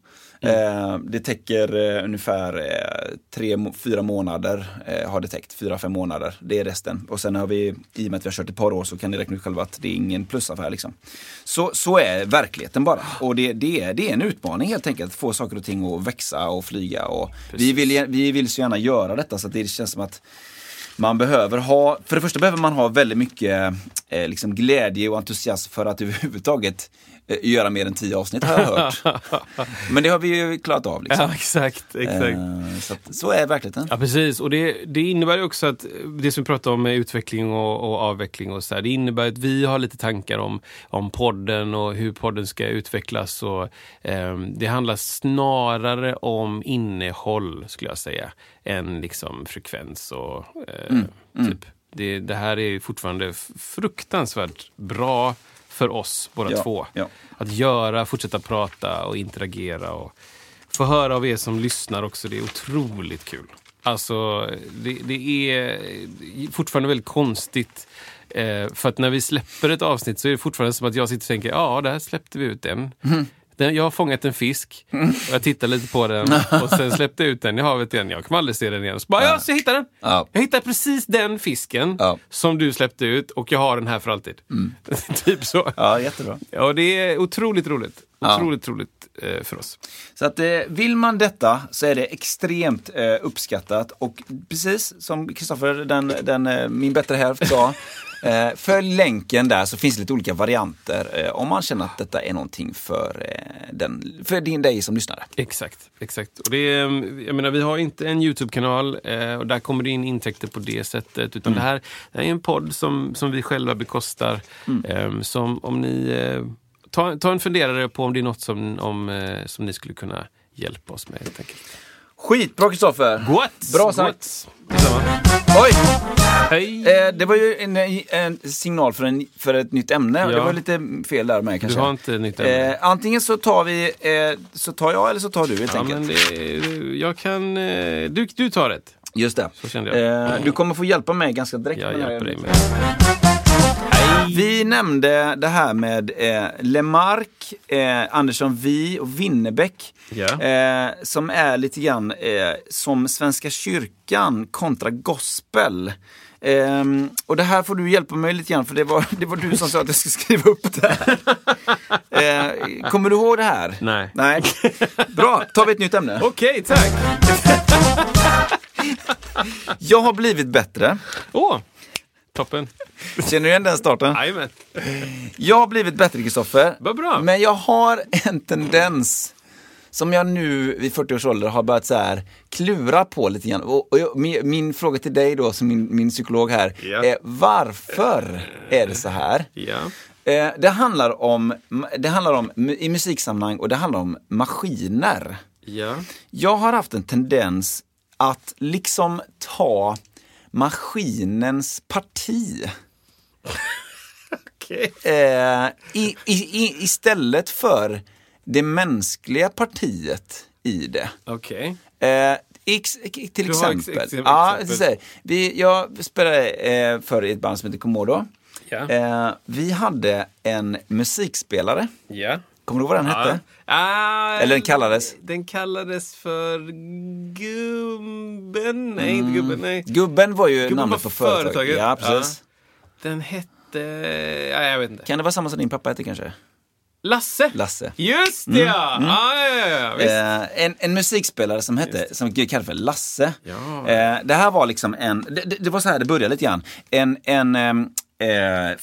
Eh, det täcker eh, ungefär eh, tre, må- fyra månader, eh, har det täckt, fyra, fem månader. Det är resten. Och sen har vi, i och med att vi har kört ett par år så kan ni räkna ut själva att det är ingen plusaffär liksom. Så, så är verkligheten bara. Och det, det, är, det är en utmaning helt enkelt, att få saker och ting att växa och flyga. Och vi, vill, vi vill så gärna göra detta så att det känns som att man behöver ha, för det första behöver man ha väldigt mycket eh, liksom glädje och entusiasm för att överhuvudtaget eh, göra mer än tio avsnitt har jag hört. Men det har vi ju klarat av. Liksom.
Ja, exakt. exakt.
Eh, så, att, så är verkligheten.
Ja, precis. Och det, det innebär ju också att eh, det som vi pratar om med utveckling och, och avveckling och så här, det innebär att vi har lite tankar om, om podden och hur podden ska utvecklas. Och, ehm, det handlar snarare om innehåll, skulle jag säga, än liksom frekvens och eh,
Mm,
typ. Det, det här är fortfarande f- fruktansvärt bra för oss båda
Ja,
två.
ja.
Att göra, fortsätta prata och interagera. och Få höra av er som lyssnar också, det är otroligt kul. Alltså, det, det är fortfarande väldigt konstigt. Eh, för att när vi släpper ett avsnitt så är det fortfarande som att jag sitter och tänker, ja, där släppte vi ut den.
Mm.
Den, jag har fångat en fisk och jag tittar lite på den och sen släppte jag ut den i havet igen. Jag kommer aldrig se den igen. Så bara, ja, så jag hittade den!
Ja.
Jag hittade precis den fisken
Ja. Mm.
som du släppte ut och jag har den här för alltid. typ så.
Ja, jättebra.
Ja, det är otroligt roligt. Otroligt roligt eh, för oss.
Så att eh, vill man detta så är det extremt eh, uppskattat och precis som Kristoffer, den, den, eh, min bättre hälft sa, eh, följ länken där så finns det lite olika varianter eh, om man känner att detta är någonting för, eh, den, för din, dig som lyssnare.
Exakt. exakt. Och det är, eh, jag menar, vi har inte en YouTube-kanal eh, och där kommer det in intäkter på det sättet. Utan
Mm.
det,
Mm.
här, det här är en podd som, som vi själva bekostar. Eh, som om ni eh, ta, ta en funderare på om det är något som, om, eh, som ni skulle kunna hjälpa oss med helt enkelt.
Skitbra Kristoffer!
What?
Bra sagt! Oj!
Hej!
Eh, det var ju en, en signal för, en, för ett nytt ämne.
Ja.
Det var lite fel där med
Du
kanske.
har inte nytt ämne?
eh, antingen så tar vi, eh, så tar jag eller så tar du helt
Ja,
enkelt.
men det, jag kan... eh, Du, du tar det.
Just det.
Så kände jag.
Eh, du kommer få hjälpa mig ganska direkt.
Jag
med det här
hjälper dig med.
Vi nämnde det här med eh, Lemark, eh, Andersson Vi och Winnerbäck.
Ja.
Eh, som är lite grann eh, som Svenska kyrkan kontra gospel. Ehm, och det här får du hjälpa mig lite grann för det var, det var du som sa att jag skulle skriva upp det här. Eh, kommer du ihåg det här?
Nej.
Nej. Bra, tar vi ett nytt ämne.
Okej, tack!
Jag har blivit bättre.
Åh! toppen.
Känner du igen den starten?
Jajamän.
Jag har blivit bättre Kristoffer.
Vad bra.
Men jag har en tendens som jag nu vid 40 års ålder har börjat så här klura på lite grann. Och, och jag, min, min fråga till dig då, som min, min psykolog här,
Ja.
är varför är det så här?
Ja.
Eh, det handlar om, det handlar om mu- i musiksammanhang och det handlar om maskiner.
Ja.
Jag har haft en tendens att liksom ta maskinens parti.
Okej.
eh, i, i, i, istället för det mänskliga partiet i det.
Okej.
Eh, ex, till
Du har
exempel.
ex- exempel.
Ja, så här, vi, jag spelade eh, förr i ett band som heter Komodo.
Ja.
Eh, vi hade en musikspelare.
Ja.
Kommer du ihåg vad den
Ja.
hette?
Ah,
Eller den kallades?
Den kallades för Gubben. Nej, inte Gubben. Nej.
Mm. Gubben var ju
Gubben
namnet
var
på företaget.
företaget.
Ja, precis.
Den hette... Ja, jag vet inte.
Kan det vara samma som din pappa hette kanske?
Lasse!
Lasse. Mm.
Just det, ja! Ah, ja, ja, ja. Visst.
Eh, en, en musikspelare som hette, som vi kallade för Lasse.
Ja.
Eh, det här var liksom en, det, det- det var så här det började lite grann. En, en ehm, eh,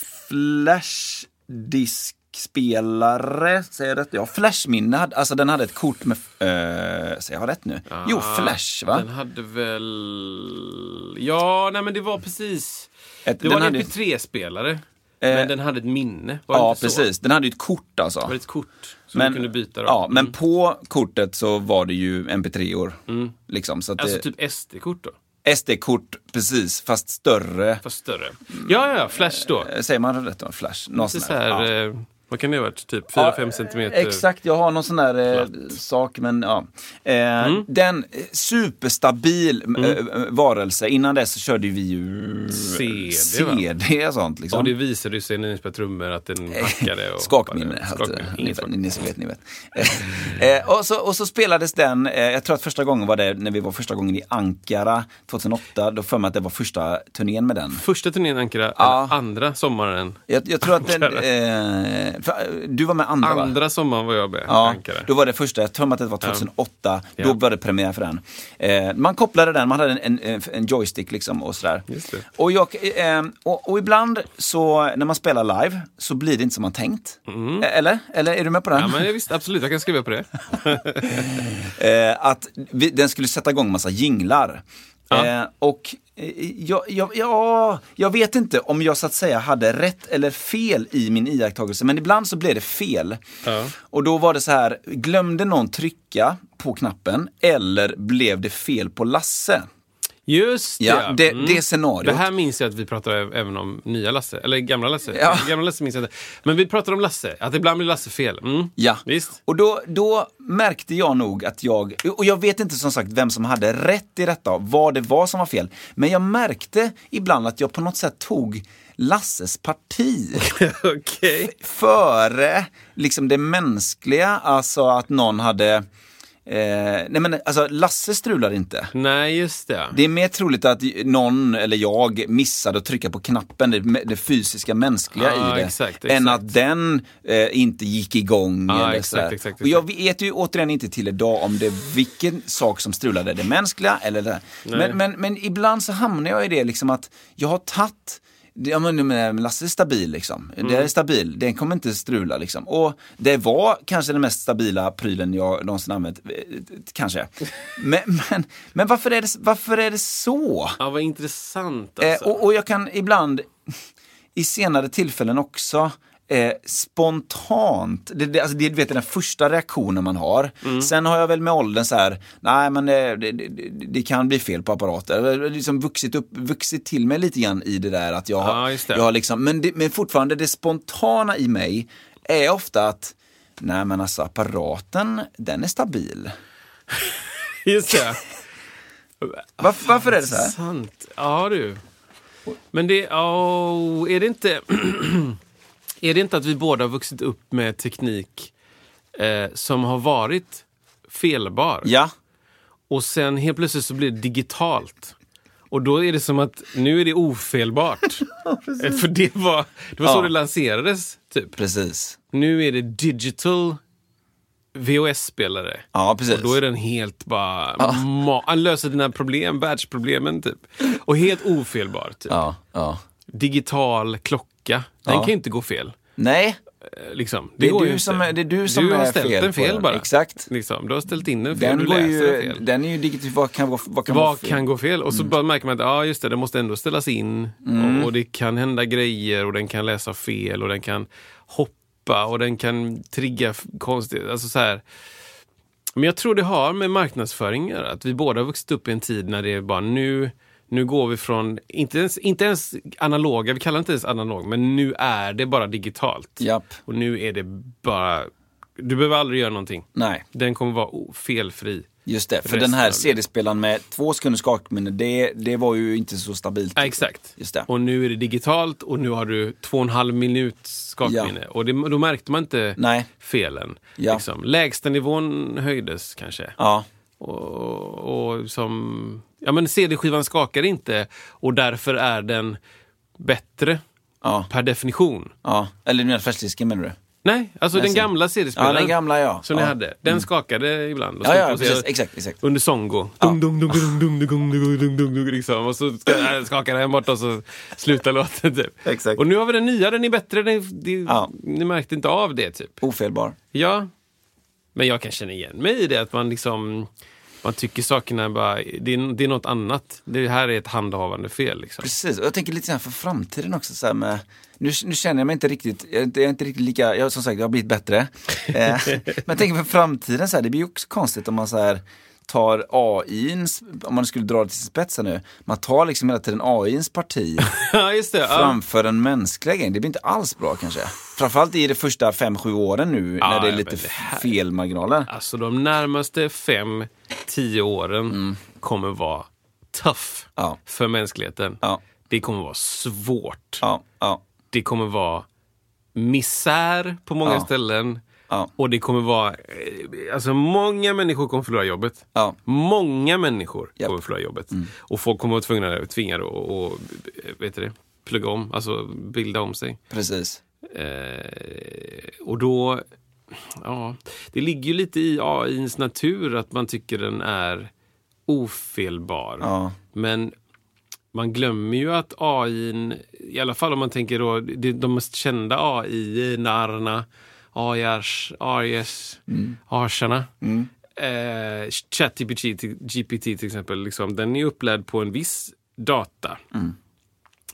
flashdiskspelare, säger jag rätt? Ja, flashminne, hade- alltså den hade ett kort med, eh, säger jag rätt nu? Jo, flash va?
Den hade väl... Ja, nej men det var precis.
Ett-
det
den
var en
hade- Eh,
MP3-spelare. men den hade ett minne. Var det
ja,
inte Så?
precis. Den hade ju ett kort alltså.
Det var ett kort som du kunde byta. Då. Mm.
ja, men på kortet så var det ju mp3-or. Liksom, så att
Alltså
det-
typ SD-kort då.
SD-kort, precis, fast större.
Fast större. Ja, ja, ja, Flash då.
Eh, Säger man rätt då? Flash? Någon
Så
sån här.
här,
ja.
eh, Vad kan det ha varit? Typ
Ja, eh,
4-5 centimeter?
Exakt, jag har någon sån där eh, sak, men ja. Eh,
Mm.
Den eh, superstabil eh, varelse, innan dess så körde ju vi ju
CD, va?
CD och sånt. Liksom.
Och det visade ju sig när ni spelade trummor att den hackade. Och
Eh, Skakminne.
hoppade.
alltså.
Skakminne.
Ni,
Ingen skakminne.
ni som vet, ni vet. eh, och, så, och så spelades den, eh, jag tror att första gången var det när vi var första gången i Ankara 2008. Då för mig att det var första turnén med den.
Första turnén i Ankara,
Ja.
eller andra sommaren.
Jag, jag tror att den, eh, för, eh, du var med andra, va?
Andra sommaren var jag med i
Ja,
Ankara.
då var det första, jag tror mig att det var 2008, då
Ja.
var det premiär för den. Eh, man kopplade den, man hade en, en, en joystick liksom och sådär.
Just det.
Och, jag, eh, och, och ibland så, när man spelar live, så blir det inte som man tänkt. Eh, Eller? Eller är du med på den?
Mm. Ja, men visst, absolut, jag kan skriva på det.
eh, att vi, den skulle sätta igång massa jinglar.
Ja.
Eh, och eh, jag, jag, ja, jag vet inte om jag så att säga hade rätt eller fel i min iakttagelse, men ibland så blev det fel.
Ja.
Och då var det så här, glömde någon trycka på knappen eller blev det fel på Lasse?
Just
Ja, det,
Mm.
det scenariot.
Det här minns jag att vi pratade ä- även om nya Lasse, eller gamla Lasse.
Ja.
Gamla Lasse minns jag inte. Men vi pratade om Lasse, att ibland blir Lasse fel. Mm.
Ja,
Visst?
och då, då märkte jag nog att jag, och jag vet inte som sagt vem som hade rätt i detta, vad det var som var fel, men jag märkte ibland att jag på något sätt tog Lasses parti
Okej.
före liksom det mänskliga, alltså att någon hade, eh, nej men alltså Lasse strular inte.
Nej, just det.
Det är mer troligt att någon eller jag missade att trycka på knappen, det, det fysiska mänskliga
Ja,
i det.
exakt,
Än
exakt.
att den eh, inte gick igång.
Ja,
eller
exakt,
sådär.
exakt,
Och jag vet ju återigen inte till idag om det vilken sak som strulade, det mänskliga eller det där. Men, men, men ibland så hamnar jag i det liksom att jag har tagit Ja men men Lasse är stabil liksom.
Mm.
Det är stabil, den kommer inte strula liksom. Och det var kanske den mest stabila prylen jag någonsin använt, eh, kanske. Men, men, men varför, är det, varför är det så?
Ja, vad intressant
Eh,
alltså.
och, och jag kan ibland i senare tillfällen också eh, spontant, det, det, alltså det, du vet, är den första reaktionen man har.
Mm.
Sen har jag väl med åldern så här, nej men eh, det, det, det kan bli fel på apparater. Jag har liksom vuxit, upp, vuxit till mig lite grann i det där att jag,
Ja,
har,
just det.
jag har liksom, men, det, men fortfarande det spontana i mig är ofta att Nej men alltså apparaten, den är stabil.
Just det. Ah,
Varför, varför är det så här?
Sant. Ja, du. Men det... Oh, är det inte... är det inte att vi båda har vuxit upp med teknik eh, som har varit felbar?
Ja,
Och sen helt plötsligt så blir det digitalt. Och då är det som att nu är det ofelbart. Eh, För det var, det var så
Ja.
det lanserades, typ.
precis.
Nu är det digital VHS-spelare.
Ja, precis.
Då är den helt bara... Ma- han löser dina problem, världsproblemen typ. Och helt ofelbar. Typ.
Ja, ja.
Digital klocka. Den
Ja.
kan ju inte gå fel.
Nej,
eh, Liksom.
Det är
går
du
ju inte.
som är- det är du som
har
är
ställt
fel
den
på
fel
den.
bara.
Exakt.
Liksom. Du har ställt in den fel,
den,
du
går
läser den
ju,
fel.
den är ju digital. Vad kan, vad, vad kan vara
Vad
fel? Mm.
kan gå fel? Och så bara märker man att ja, just det, den måste ändå ställas in. Och, och det kan hända grejer och den kan läsa fel och den kan hoppa och den kan trigga f- konstigt. Alltså så här. Men jag tror det har med marknadsföring att göra. Att vi båda har vuxit upp i en tid när det är bara nu, nu går vi från, inte ens, inte ens analoga, vi kallar det inte ens analog, men nu är det bara digitalt.
Japp.
Och nu är det bara, du behöver aldrig göra någonting.
Nej,
Den kommer vara o- felfri.
just det. För
Resten
den här
av det.
CD-spelaren med två sekunders skakminne, det, det var ju inte så stabilt.
Ja, exakt.
Typ. Just det.
Och nu är det digitalt och nu har du två och en halv minut skakminne. Och det, då märkte man inte
Nej.
felen.
Ja.
Liksom. Lägstanivån höjdes kanske.
Ja,
Och, och som, ja, men CD-skivan skakar inte och därför är den bättre
ja,
per definition.
ja. Eller du menar färskdisken menar du?
Nej, alltså den
ser-
gamla CD-spelaren.
Ja, den gamla, ja.
Som ni
Ja. Mm.
hade. Den skakade ibland. och
Ja,
stod
ja,
på sig-
precis. Exakt, exakt.
Under Songo. Dung, dung, dung, dung, dung, dung, dung, dung, dung, dung, liksom. Och så ska- äh, skakar den bort och så slutar låten. Typ.
Exakt.
Och nu har vi den nya, den är bättre. Den, det,
Ja.
Ni märkte inte av det, typ.
Ofelbar.
Ja. Men jag kan känna igen mig i det, att man liksom... Man tycker sakerna bara... Det är, det är något annat. Det här är ett handhavande fel. Liksom.
Precis, och jag tänker lite så här för framtiden också. Så här med, nu, nu känner jag mig inte riktigt, jag är inte, jag är inte riktigt lika, jag, som sagt jag har blivit bättre. Eh, men jag tänker för framtiden, så här, det blir ju också konstigt om man så här, tar AIns, om man skulle dra det till sin spets här nu, man tar liksom hela tiden AIns parti
Ja, just det. Ja.
framför den mänskliga grejen. Det blir inte alls bra kanske. Framförallt i de första 5-7 åren nu
Ja,
när det är
ja,
lite
men det här-
fel marginaler.
Alltså, de närmaste fem, tio åren kommer vara tuff
Mm. Ja.
för mänskligheten.
Ja.
Det kommer vara svårt.
Ja, ja,
det kommer vara misär på många
Ja.
ställen.
Ja.
Och det kommer vara... eh, Alltså många människor kommer förlora jobbet.
Ja.
Många människor
Japp. Mm.
kommer förlora jobbet. Och folk kommer vara tvungna, tvingade att och, vet du det, plugga om, alltså bilda om sig.
precis.
Eh, och då... Ja, det ligger ju lite i AIns natur att man tycker den är ofelbar.
Ja.
Men man glömmer ju att AI, i alla fall om man tänker då, det- de mest kända AI, narna, AIars, AIs, arsarna. Eh, ChatGPT till- GPT till exempel, liksom, den är upplärd på en viss data.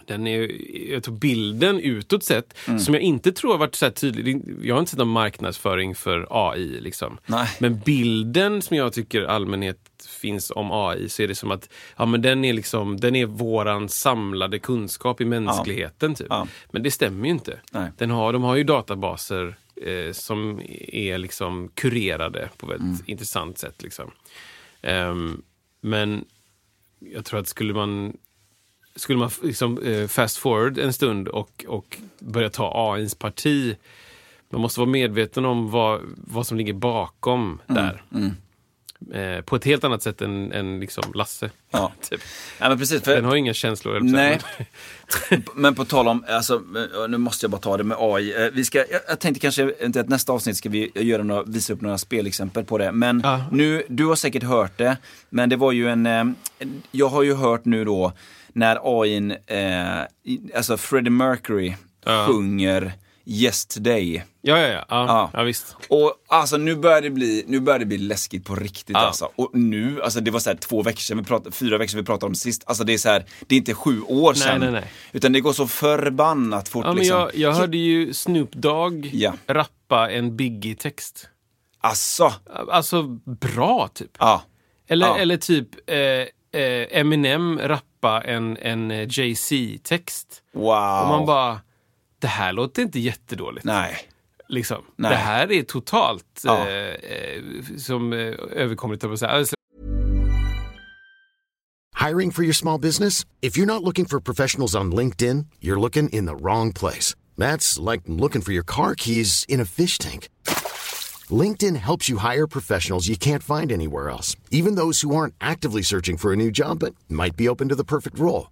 Den är, jag tror bilden utåt sett,
Mm.
som jag inte tror har varit så här tydlig. Jag har inte sett någon marknadsföring för AI. Liksom.
Nej.
Men bilden som jag tycker allmänhet finns om AI så är det som att ja, men den, är liksom, den är våran samlade kunskap i mänskligheten. Typ.
Ja.
Men det stämmer ju inte.
Nej.
Den har, de har ju databaser eh, som är liksom kurerade på ett
Mm.
intressant sätt. Liksom. Ehm, men jag tror att skulle man skulle man f- liksom, eh, fast forward en stund och, och börja ta AIns parti. Man måste vara medveten om vad, vad som ligger bakom
Mm,
där. Eh, på ett helt annat sätt än, än liksom Lasse.
Ja.
typ.
Ja, men precis, för,
Den har ju inga känslor. höll jag på att
Nej.
säga.
Men på tal om, alltså, eh, nu måste jag bara ta det med AI. Eh, Vi ska, jag, jag tänkte kanske inte att nästa avsnitt ska vi göra några, visa upp några spelexempel på det. Men
Ja.
nu, du har säkert hört det, men det var ju en, eh, jag har ju hört nu då när AI, eh, i- alltså Freddie Mercury
Ja.
sjunger Yes Today.
Ja, ja, ja. ja,
Ja.
ja. visst.
Och alltså nu börjar det bli, nu börjar det bli läskigt på riktigt
Ja.
alltså. Och nu, alltså det var så här två veckor sedan, vi pratade, fyra veckor sedan vi pratade om sist. Alltså det är så här, det är inte sju år sedan.
nej, nej.
Utan det går så förbannat fort
Ja, men
liksom.
jag, jag hörde ju Snoop Dogg
Ja.
rappa en Biggie-text.
Alltså,
Alltså bra, typ.
ja.
Eller,
Ja.
eller typ eh, eh, Eminem rappa en, en eh, Jay-Z-text.
Wow.
Och man bara, det här låter inte jättedåligt.
Nej.
Liksom.
Nej.
Det här är totalt
Ja.
eh, eh, som eh, överkomligt, höll jag på att säga. Alltså,
Hiring for your small business? If you're not looking for professionals on LinkedIn, you're looking in the wrong place. That's like looking for your car keys in a fish tank. LinkedIn helps you hire professionals you can't find anywhere else, even those who aren't actively searching for a new job but might be open to the perfect role.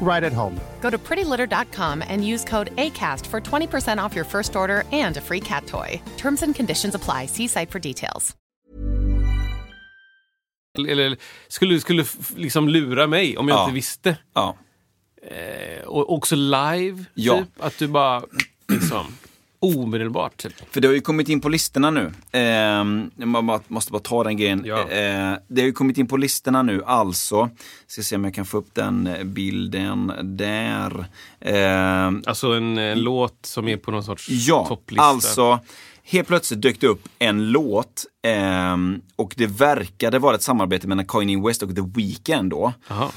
right at home.
Go to prettylitter.com and use code ACAST for 20% off your first order and a free cat toy. Terms and conditions apply. See site for details.
eller, skulle, skulle f- liksom lura mig om jag
Ja.
inte visste. Eh,
Ja.
Och också live,
Ja.
typ. Att du bara, liksom, omedelbart. Typ.
För det har ju kommit in på listorna nu. Ehm, man bara, måste bara ta den grejen.
Ja.
Eh, det har ju kommit in på listorna nu, alltså. Ska se om jag kan få upp den eh, bilden där. Ehm,
Alltså en, en låt som är på någon sorts
ja,
topplista.
alltså. Helt plötsligt dök det upp en låt ehm, och det verkade vara ett samarbete mellan Kanye West och The Weeknd då.
Jaha.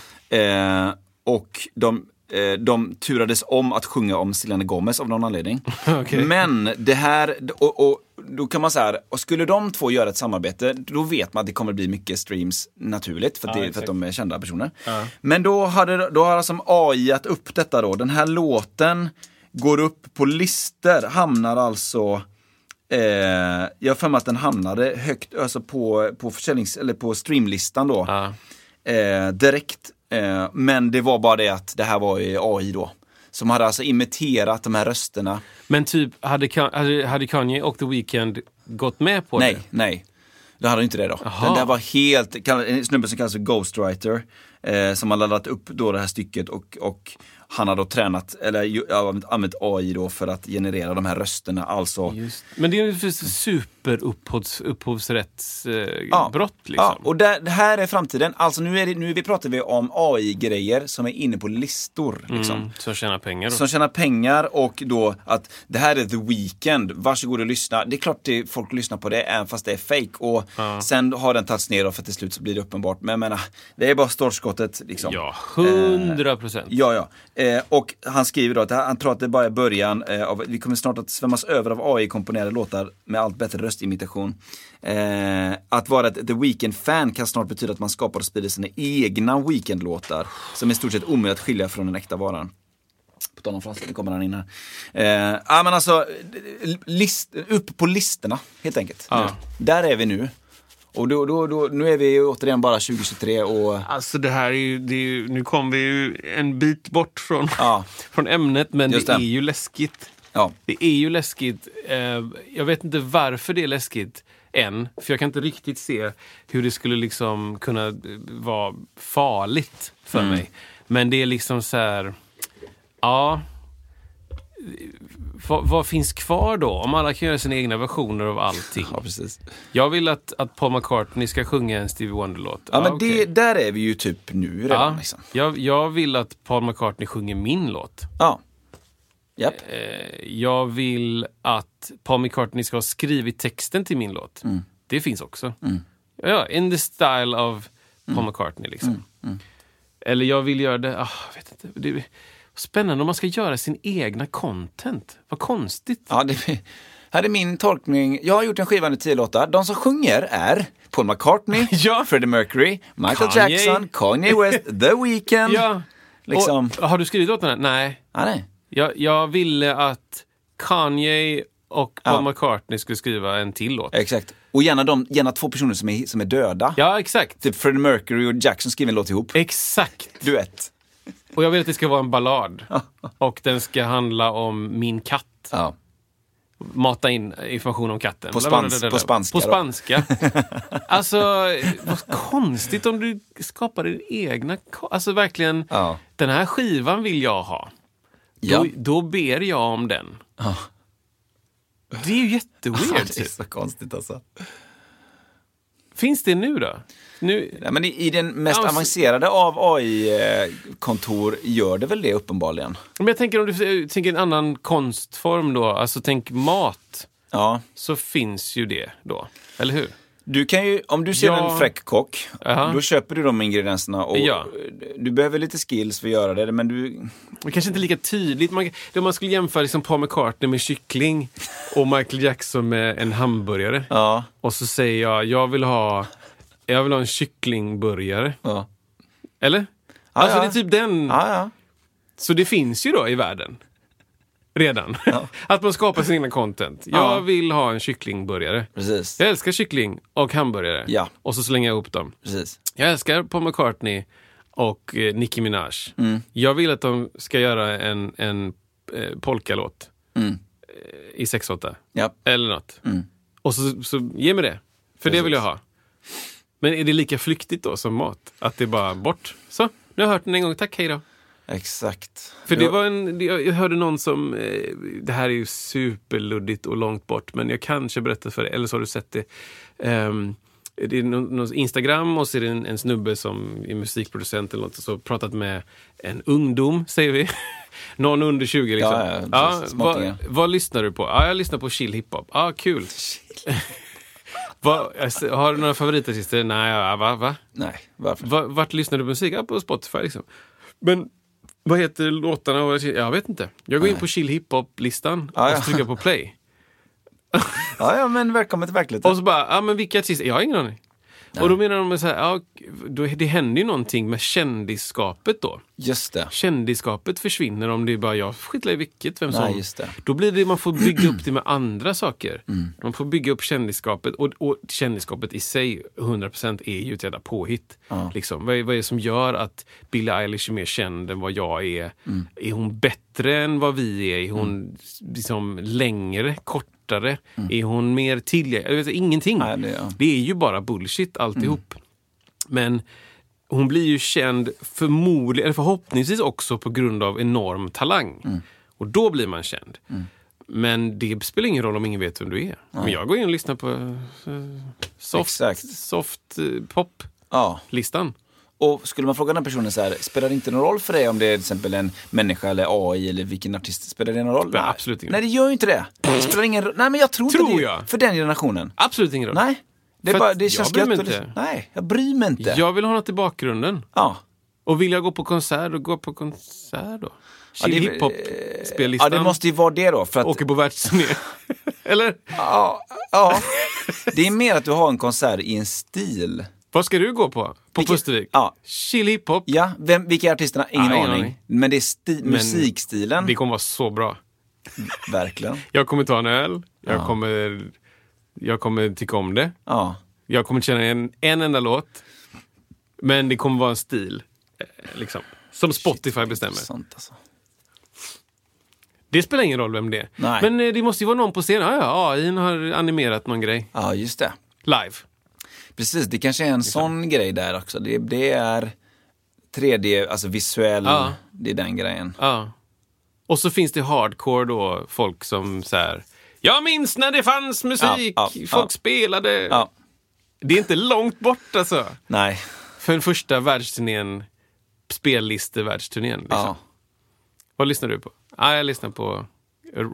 Eh, och de, eh, de turades om att sjunga om Selena Gomez av någon anledning.
Okej.
Men det här, och, och då kan man så här, och skulle de två göra ett samarbete, då vet man att det kommer bli mycket streams naturligt för, att det, för att de är kända personer. Men då, hade, då har alltså AI att upp detta då, den här låten går upp på listor, hamnar alltså Eh, jag har för mig att den hamnade högt alltså på, på, försäljnings, eller på streamlistan då.
Ja.
Eh, direkt. Eh, men det var bara det att det här var ju AI då. Som hade alltså imiterat de här rösterna.
Men typ, hade, Ka- hade, hade Kanye och The Weeknd gått med på
nej,
det?
nej. Det hade inte det då.
Jaha.
Den där var helt, kall- en snubbe som kallas för Ghostwriter. Eh, som har laddat upp då det här stycket och, och han har då tränat, eller ju- ja, använt AI då för att generera de här rösterna. Alltså
Just. Men det är ju för superupphovsrättsbrott. Eh,
Ja.
brott, liksom.
Ja, och där, det här är framtiden. Alltså nu, är det, nu vi pratar vi om AI-grejer som är inne på listor. Liksom.
Mm, som tjänar pengar. Då.
Som tjänar pengar och då att det här är the weekend, varsågod och lyssna. Det är klart det, folk lyssnar på det även fast det är fake och sen har den tagits ner då för till slut så blir det uppenbart. Men jag menar, det är bara startskottet liksom.
Ja, hundra procent.
Ja, ja. Eh, och han skriver då att det här- han tror att det bara är början eh, av, vi kommer snart att svämmas över av AI-komponerade låtar med allt bättre röstimitation. Eh, att vara ett The Weeknd-fan kan snart betyda att man skapar och sprider sina egna Weeknd-låtar som är i stort sett omöjligt att skilja från den äkta varan. På tal om franskt, nu kommer han in här. Eh, ja, men alltså, list, upp på listorna helt enkelt.
Ja.
Nu. Där är vi nu. Och då, då, då, nu är vi ju återigen bara 2023 och
Alltså det här är ju, det är ju nu kom vi ju en bit bort från,
Ja.
från ämnet, men
Just
det är
det.
ju läskigt.
ja,
Det är ju läskigt. Eh, jag vet inte varför det är läskigt än, för jag kan inte riktigt se hur det skulle liksom kunna eh, vara farligt för
Mm.
mig. Men det är liksom så här... Ja... Vad, vad finns kvar då? Om alla kan göra sina egna versioner av allting.
ja precis.
Jag vill att, att Paul McCartney ska sjunga en Stevie Wonder-låt. Ah,
Ja, men
okej.
det, där är vi ju typ nu redan.
Ja,
Liksom.
jag, jag vill att Paul McCartney sjunger min låt.
Ja. Japp.
Eh, Jag vill att Paul McCartney ska ha skrivit texten till min låt.
Mm.
Det finns också. Ja, in the style of
Mm.
Paul McCartney. Liksom. Eller jag vill göra det... Ah, jag vet inte. Det är spännande om man ska göra sin egna content. Vad konstigt.
Ja, det, här är min tolkning. Jag har gjort en skiva med tio låtar. De som sjunger är Paul McCartney,
Ja.
Freddie Mercury, Michael
Kanye.
Jackson, Kanye West, The Weeknd.
Ja,
Liksom.
Och, har du skrivit åt den? här? Nej.
Ja, nej.
Jag, jag ville att Kanye och Paul McCartney skulle skriva en till låt.
Exakt. Och gärna, de, gärna två personer som är, som är döda.
Ja, exakt.
Typ Freddie Mercury och Jackson skriver en låt ihop.
Exakt.
Duett.
Och jag vill att det ska vara en ballad. Och den ska handla om min katt.
Ja.
Mata in information om katten.
På
Bla, bla, bla,
spans-
bla, bla.
på spanska
På
då.
spanska. alltså, vad konstigt om du skapar din egna... ko- Alltså verkligen,
Ja.
den här skivan vill jag ha.
Ja.
Då, då ber jag om den. Det är typ. ju jätteweird.
det är så konstigt alltså.
Finns det nu då? Nu,
Nej, men i, I den mest
Ja, men-
avancerade av AI-kontor gör det väl det uppenbarligen.
men jag tänker om du tänker en annan konstform då, alltså tänk mat,
Ja.
så finns ju det då. Eller hur?
Du kan ju, om du ser
Ja.
en fräck kock,
Aha.
då köper du de ingredienserna och
Ja.
du behöver lite skills för att göra det, men du...
Men kanske inte lika tydligt. Man, om man skulle jämföra liksom Paul McCartney med kyckling och Michael Jackson med en hamburgare.
Ja.
Och så säger jag, jag vill ha, jag vill ha en kycklingburgare.
Ja.
Eller? alltså
ja.
det är typ den.
Ja, ja.
Så det finns ju då i världen. Redan. Att man skapar sin egna content. Jag
Ja.
vill ha en kycklingburgare.
Precis.
Jag älskar kyckling och hamburgare.
Ja.
Och så slänger jag ihop dem.
Precis.
Jag älskar Paul McCartney och eh, Nicki Minaj. Jag vill att de ska göra en, en eh, polkalåt eh, i 6-8.
Ja.
Eller något. Och så, så ge mig det. För det vill jag ha. Men är det lika flyktigt då som mat? Att det är bara bort? Så, nu har jag hört den en gång. Tack, hej då.
Exakt.
För det
Jo.
var en, jag jag hörde någon som, eh, det här är ju superluddigt och långt bort, men jag kanske berättar för dig, eller så har du sett det. Ehm, det är någon, någon Instagram och så är det en, en snubbe som är musikproducent eller något, så pratat med en ungdom, säger vi. någon under 20 liksom.
Ja, ja, precis.
vad,
Småttingar.
vad lyssnar du på? Ja, jag lyssnar på chill hiphop. Ja, kul. Vad- alltså, har du några favoritartister? Nej, ja, va? va?
Nej, varför?
Va- Vart lyssnar du på musik? Ja, på Spotify liksom. Men vad heter låtarna? och- Jag vet inte. Jag går in på chill hiphop-listan
Ja, ja.
och så trycker jag på play.
Ja, ja, men välkommen till verkligheten.
Och så bara, ja men vilka artister? Jag har ingen aning. Och då menar de så här, ja, då, det händer ju någonting med kändisskapet då.
Just det.
Kändisskapet försvinner om det är bara jag skiter i vilket, vem som...
Nej, just det. Mm.
Då blir det, man får bygga upp det med andra saker. Man får bygga upp kändisskapet och, och kändisskapet i sig, 100% är ju ett jävla påhitt. Liksom. Vad, är, vad är det som gör att Billie Eilish är mer känd än vad jag är?
Mm.
Är hon bättre än vad vi är? Är hon liksom längre, kortare? Är hon mer tillgänglig? Jag vet Ingenting.
Mm. Nej, det- Mm. ja.
Det är ju bara bullshit alltihop. Men hon blir ju känd förmodligen, eller förhoppningsvis också på grund av enorm talang.
Mm.
Och då blir man känd. Men det spelar ingen roll om ingen vet vem du är. Men jag går in och lyssnar på eh, soft,
Exakt.
soft eh, pop-listan.
Ja. Och skulle man fråga den här personen så här, spelar det inte någon roll för dig om det är till exempel en människa eller AI eller vilken artist, spelar det någon roll?
Spelar absolut ingen Mm.
Nej, det gör ju inte det. Det spelar ingen roll. Nej, men jag tror,
Tror
inte det.
jag.
För den generationen.
Absolut ingen roll.
Nej. Det, är
För
bara,
att
det
jag
känns
bryr mig
gött att
inte.
lyssna. Nej, jag bryr mig inte.
Jag vill ha något i bakgrunden.
Ja.
Och vill jag gå på konsert, då går jag på konsert då. Chill
det- Ja,
hiphop-spellistan.
det måste ju vara det då. För att,
Åker på världsturné. eller?
ja, ja. Det är mer att du har en konsert i en stil.
Vad ska du gå på? På
Vilket-
Pustervik?
ja.
Chill hiphop.
Ja, vem, vilka är artisterna? Ingen
Ja, ingen
aning.
aning.
Men det är sti- musikstilen.
Det kommer vara så bra.
Verkligen.
Jag kommer ta en öl. Jag, kommer, jag kommer tycka om det.
Ja.
Jag kommer känna en, en enda låt. Men det kommer vara en stil. eh, Liksom. Som Spotify bestämmer.
Sånt alltså.
Det spelar ingen roll vem det är.
Nej.
Men eh, det måste ju vara någon på scenen. Ja, ja, AI har animerat någon grej.
Ja, just det.
Live.
Precis, det kanske är en
Liksom.
sån grej där också. Det, det är 3D, alltså visuell,
Ja.
det är den grejen.
Ja. Och så finns det hardcore då, folk som så här... Jag minns när det fanns musik,
Ja, ja,
folk
ja.
spelade.
Ja,
Det är inte långt bort alltså.
nej.
För den första världsturnén, spellistevärldsturnén. Liksom.
Ja.
Vad lyssnar du på? Ah, jag lyssnar på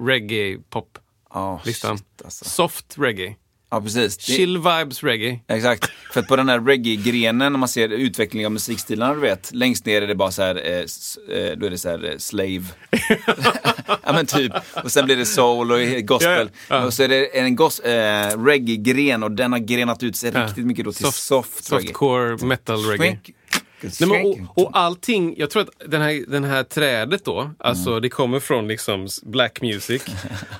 reggae-pop.
Ja,
Listan.
shit, alltså.
Soft reggae.
ja precis. Det,
Chill vibes reggae.
Exakt. För att på den här reggae-grenen, när man ser utvecklingen av musikstilarna, du vet, längst ner är det bara så här, eh, s- eh, då är det så här eh, slave. ja men typ. Och sen blir det soul och gospel.
Ja, ja. Ja.
Och så är det en gos- eh, reggae-gren och den har grenat ut sig riktigt mycket då till soft,
Softcore metal reggae.
Twink.
Nej, men, och, och allting, jag tror att den här, den här trädet då, alltså
Mm.
det kommer från liksom s- black music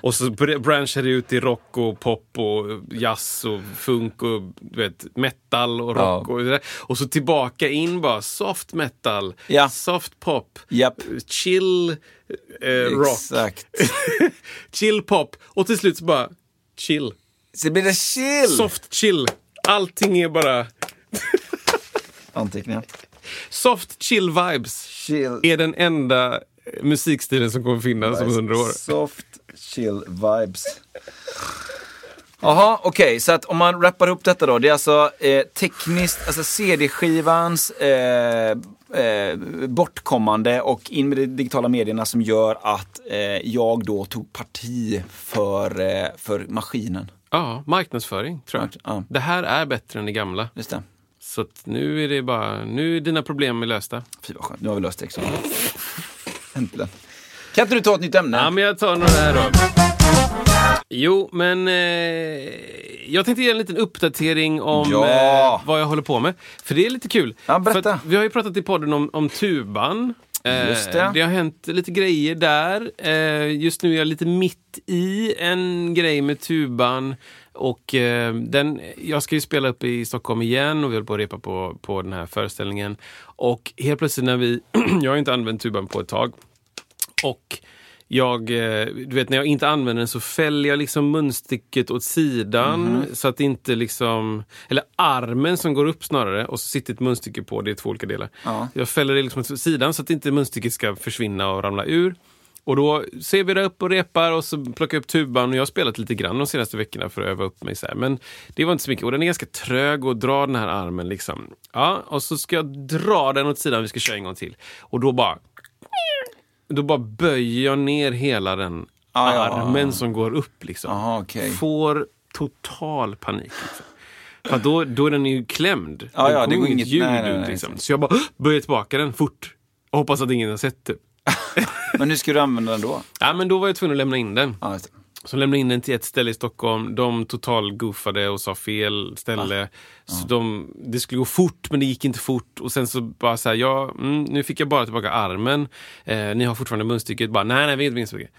och så br- branchar det ut i rock och pop och jazz och funk och du vet, metal och rock
Ja.
och det där. Och så tillbaka in bara soft metal,
Ja.
soft pop,
Japp.
chill eh, rock,
Exakt.
chill pop och till slut så bara chill,
Så blir det chill!
soft chill. Allting är bara
Anteckningar.
soft chill vibes.
Chill.
är den enda eh, musikstilen som kommer finnas om hundra år.
Soft chill vibes. Jaha, okej. Så att om man rappar upp detta då. Det är alltså eh, tekniskt, alltså CD-skivans eh, eh, bortkommande och in med de digitala medierna som gör att eh, jag då tog parti för, eh, för maskinen.
Ja, marknadsföring tror jag.
Mark- ja.
Det här är bättre än det gamla.
Just det.
Så att nu är det bara, nu är dina problem är lösta.
Fy vad skönt, nu har vi löst det också. Äntligen. Kan inte du ta ett nytt ämne?
Ja, men jag tar några här då. Jo, men eh, jag tänkte ge en liten uppdatering om
Ja.
eh, vad jag håller på med. För det är lite kul.
Ja, berätta.
För att vi har ju pratat i podden om, om tuban. Eh,
Just det.
det har hänt lite grejer där. Eh, just nu är jag lite mitt i en grej med tuban. Och eh, den, jag ska ju spela upp i Stockholm igen och vi håller på att repa på, på den här föreställningen. Och helt plötsligt när vi... jag har ju inte använt tuban på ett tag. Och jag, eh, du vet när jag inte använder den så fäller jag liksom munstycket åt sidan så att inte liksom, eller armen som går upp snarare och så sitter ett munstycke på, det är två olika delar.
Ja.
Jag fäller det liksom åt sidan så att inte munstycket ska försvinna och ramla ur. Och då ser vi det upp och repar och så plockar jag upp tuban och jag har spelat lite grann de senaste veckorna för att öva upp mig. Så här. Men det var inte så mycket och den är ganska trög och dra den här armen liksom. Ja, och så ska jag dra den åt sidan, vi ska köra en gång till. Och då bara då bara böjer jag ner hela den
Ah, ja.
armen som går upp. Liksom.
Aha, okej.
Får total panik. Liksom. För att då, då är den ju klämd.
Ja, ja,
kommer
det går
ju
inget-
ljud
nej, nej,
ut.
nej.
Liksom. Så jag bara böjer tillbaka den fort. Och hoppas att ingen har sett det.
Men hur ska du använda den då?
Ja, men då var jag tvungen att lämna in den.
Ja, just det.
Så lämnade in den till ett ställe i Stockholm. De totalgoofade och sa fel ställe. Så de, det skulle gå fort, men det gick inte fort. Och sen så bara så här, ja, mm, nu fick jag bara tillbaka armen. Eh, ni har fortfarande munstycket. Bara, nej, nej, vi har inte munstycke.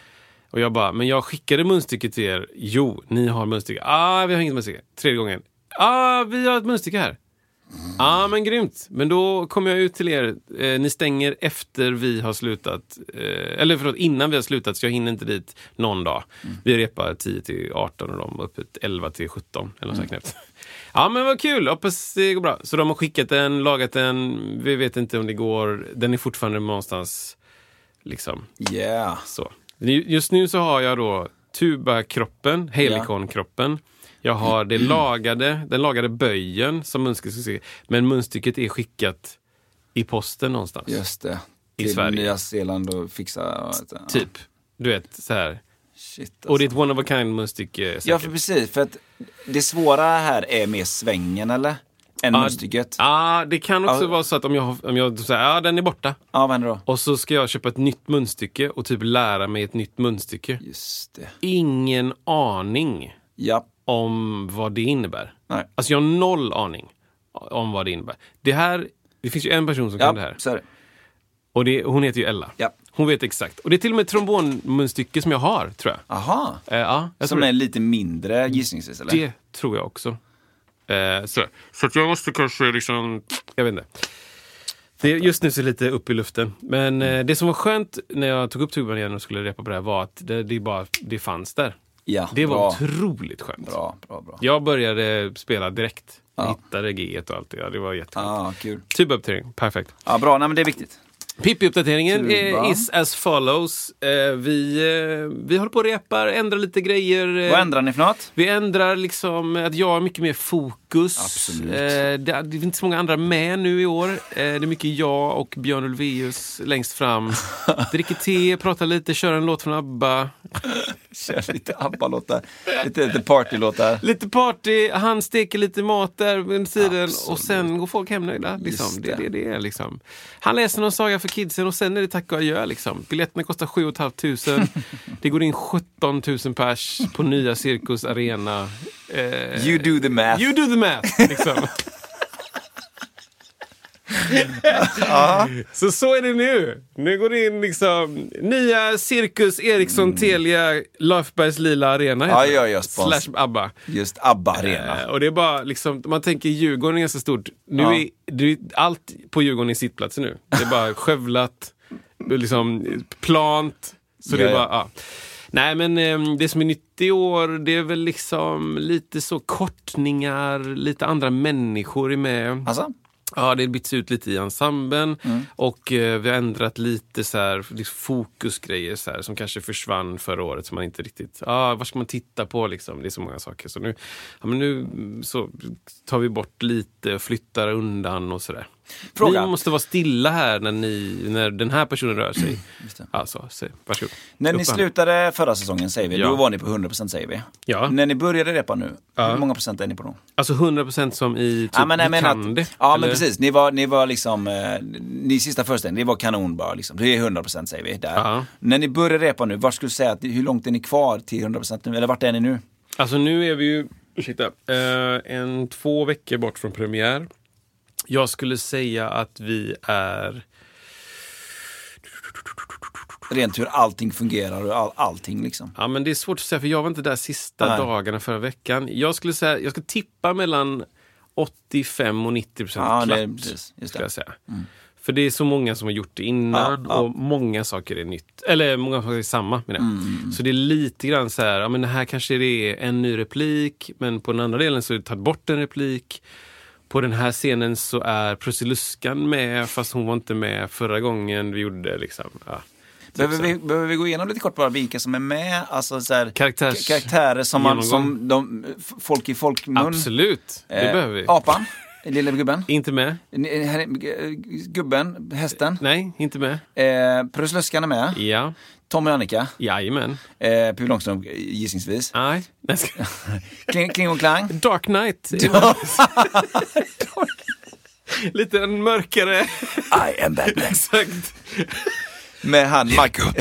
Och jag bara, men jag skickade munstycket till er. Jo, ni har munstycke. Ah, vi har inget munstycke. Tredje gången. Ah, vi har ett munstycke här. Ja, ah, men grymt. Men då kommer jag ut till er. Eh, ni stänger efter vi har slutat. Eh, eller förlåt, innan vi har slutat, så jag hinner inte dit någon dag. Vi repar 10 till 18 och de var uppe till 11 till 17. Eller något sånt knäppt. Ja, men vad kul. Hoppas det går bra. Så de har skickat den, lagat den. Vi vet inte om det går. Den är fortfarande någonstans liksom
Yeah.
så. Ju- Just nu så har jag då tubakroppen, helikonkroppen. Jag har det
Mm.
lagade, den lagade böjen som munstycket ska se. Men munstycket är skickat i posten någonstans.
Just det.
I
Till
Sverige.
Nya Zeeland och fixa... ja,
Typ. Du vet, så här.
Shit, alltså.
Och det är ett one of a kind munstycke säkert.
Ja, för precis. För att det svåra här är mer svängen, eller? Än
Ja,
munstycket. Ja,
Ja, Ah, det kan också
Ja.
vara så att om jag, om jag säger ja den är borta.
vad händer då?
Och så ska jag köpa ett nytt munstycke och typ lära mig ett nytt munstycke.
Just det.
Ingen aning
Ja.
om vad det innebär.
Nej.
Alltså jag har noll aning om vad det innebär. Det här, det finns ju en person som kan det
Ja,
här.
så är det.
Och det, hon heter ju Ella.
Ja.
Hon vet exakt. Och det är till och med ett trombonmunstycke som jag har, tror jag.
Aha.
Eh, ja, jag
Som
tror Mm.
är lite mindre gissningsvis, eller?
det. det tror jag också. Eh, så så att jag måste kanske liksom... Jag vet inte. Det, just nu så är det lite upp i luften. Men eh,
Mm.
det som var skönt när jag tog upp tuban igen och skulle repa på det här var att det, det, bara, det fanns där.
Ja,
Det var
bra.
otroligt skönt.
Bra, bra, bra.
Jag började spela direkt.
Ja.
Hittade g och allt det. Ja, det var jätteskönt.
Ja, kul.
Tubuppdatering, perfekt.
Ja, bra. Nej, men det är viktigt.
Pippi-uppdateringen
Tuba.
eh, is as follows. Eh, Vi, eh, vi håller på och repar, ändrar lite grejer. eh,
Vad ändrar ni för något?
Vi ändrar liksom att jag har mycket mer fokus.
Absolut.
Eh, Det, det är inte så många andra med nu i år. Eh, Det är mycket jag och Björn Ulvaeus längst fram. Dricker te, pratar lite, kör en låt från ABBA.
Kör lite ABBA-låtar. Lite, lite partylåtar.
Lite party, han steker lite mat där under tiden och
Absolut.
sen går folk hemnöjda. Liksom.
Just
Det är det
det.
det är. Liksom. Han läser någon saga för kidsen och sen är det tack och adjö. Liksom. Biljetterna kostar 7 500. det går in 17 000 pers på nya Cirkus Arena. Eh,
You do the math.
you do the math! Liksom. Så så är det nu. Nu går det in liksom nya Cirkus Eriksson Telia Löfbergs Lila Arena. heter
Ja, ja,
det.
ja, spons.
Slash ABBA.
Just ABBA Arena.
Eh, och det är bara liksom, man tänker Djurgården är ganska stort. Nu
Ja.
är, det är allt på Djurgården är sittplatser nu. Det är bara skövlat, liksom plant. Så det är
Ja,
bara,
ja.
ja. Nej men eh, det som är nytt i år, det är väl liksom lite så kortningar, lite andra människor är med.
Alltså?
Ja, det byts ut lite i ensemblen
Mm.
och eh, vi har ändrat lite så här, liksom fokusgrejer så här, som kanske försvann förra året. Som man inte riktigt, ah, vad ska man titta på? Liksom? Det är så många saker. Så nu, ja, men nu mm, så tar vi bort lite, flyttar undan och sådär.
Fråga.
Ni måste vara stilla här när, ni, när den här personen rör sig. Alltså, så, varsågod.
När
Upp
ni
med handen.
slutade förra säsongen säger vi,
Ja.
då var ni på 100% säger vi.
Ja.
När ni började repa nu, hur många procent är ni på då?
Alltså 100% som i typ,
Ja, men,
du
jag menar
kan
att,
det.
ja
eller?
men precis, ni var, ni var liksom, eh, ni sista föreställningen, det var kanon bara liksom. Det är 100% säger vi där.
Ja.
När ni börjar repa nu, var skulle du säga att, hur långt är ni kvar till 100% nu? Eller vart är ni nu?
Alltså nu är vi ju, ursäkta, eh, en två veckor bort från premiär. Jag skulle säga att vi är...
Rent hur allting fungerar och all, allting liksom.
Ja, men det är svårt att säga för jag var inte där sista
Nej.
dagarna förra veckan. Jag skulle säga, jag ska tippa mellan 85 och 90 procent
Ja, det,
klart.
precis, just
skulle
det. Mm.
jag säga. För det är så många som har gjort det innan
Ja, ja.
och många saker är nytt. Eller många saker är samma menar jag.
Mm,
Så det är lite grann så här, ja men här kanske det är en ny replik men på den andra delen så är det tagit bort en replik. På den här scenen så är Prussiluskan med fast hon var inte med förra gången vi gjorde liksom. Ja.
Behöver vi, behöver vi gå igenom lite kort bara vilka som är med? Alltså så här,
Karaktärs-
ka- karaktärer som, man,
genomgång.
som de, f- folk i folkmun.
Absolut, det
Eh,
behöver vi.
Apan, lilla gubben.
Inte med?
Ni- här är- eh, Gubben, hästen.
Nej, inte med.
Eh, Prussiluskan är med.
Ja,
Tommy och Annika.
jajamän.
Eh, Pippi Långstrump, gissningsvis.
Nej. Nej, ska-
Kling, kling och Klang.
Dark Knight. Lite en mörkare.
I am Batman.
Exakt.
Med han Michael,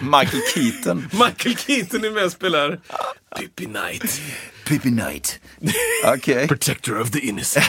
Michael Keaton.
Michael Keaton är med och spelar Pippi Knight.
Pippi Knight. Okej.
Protector of the innocent.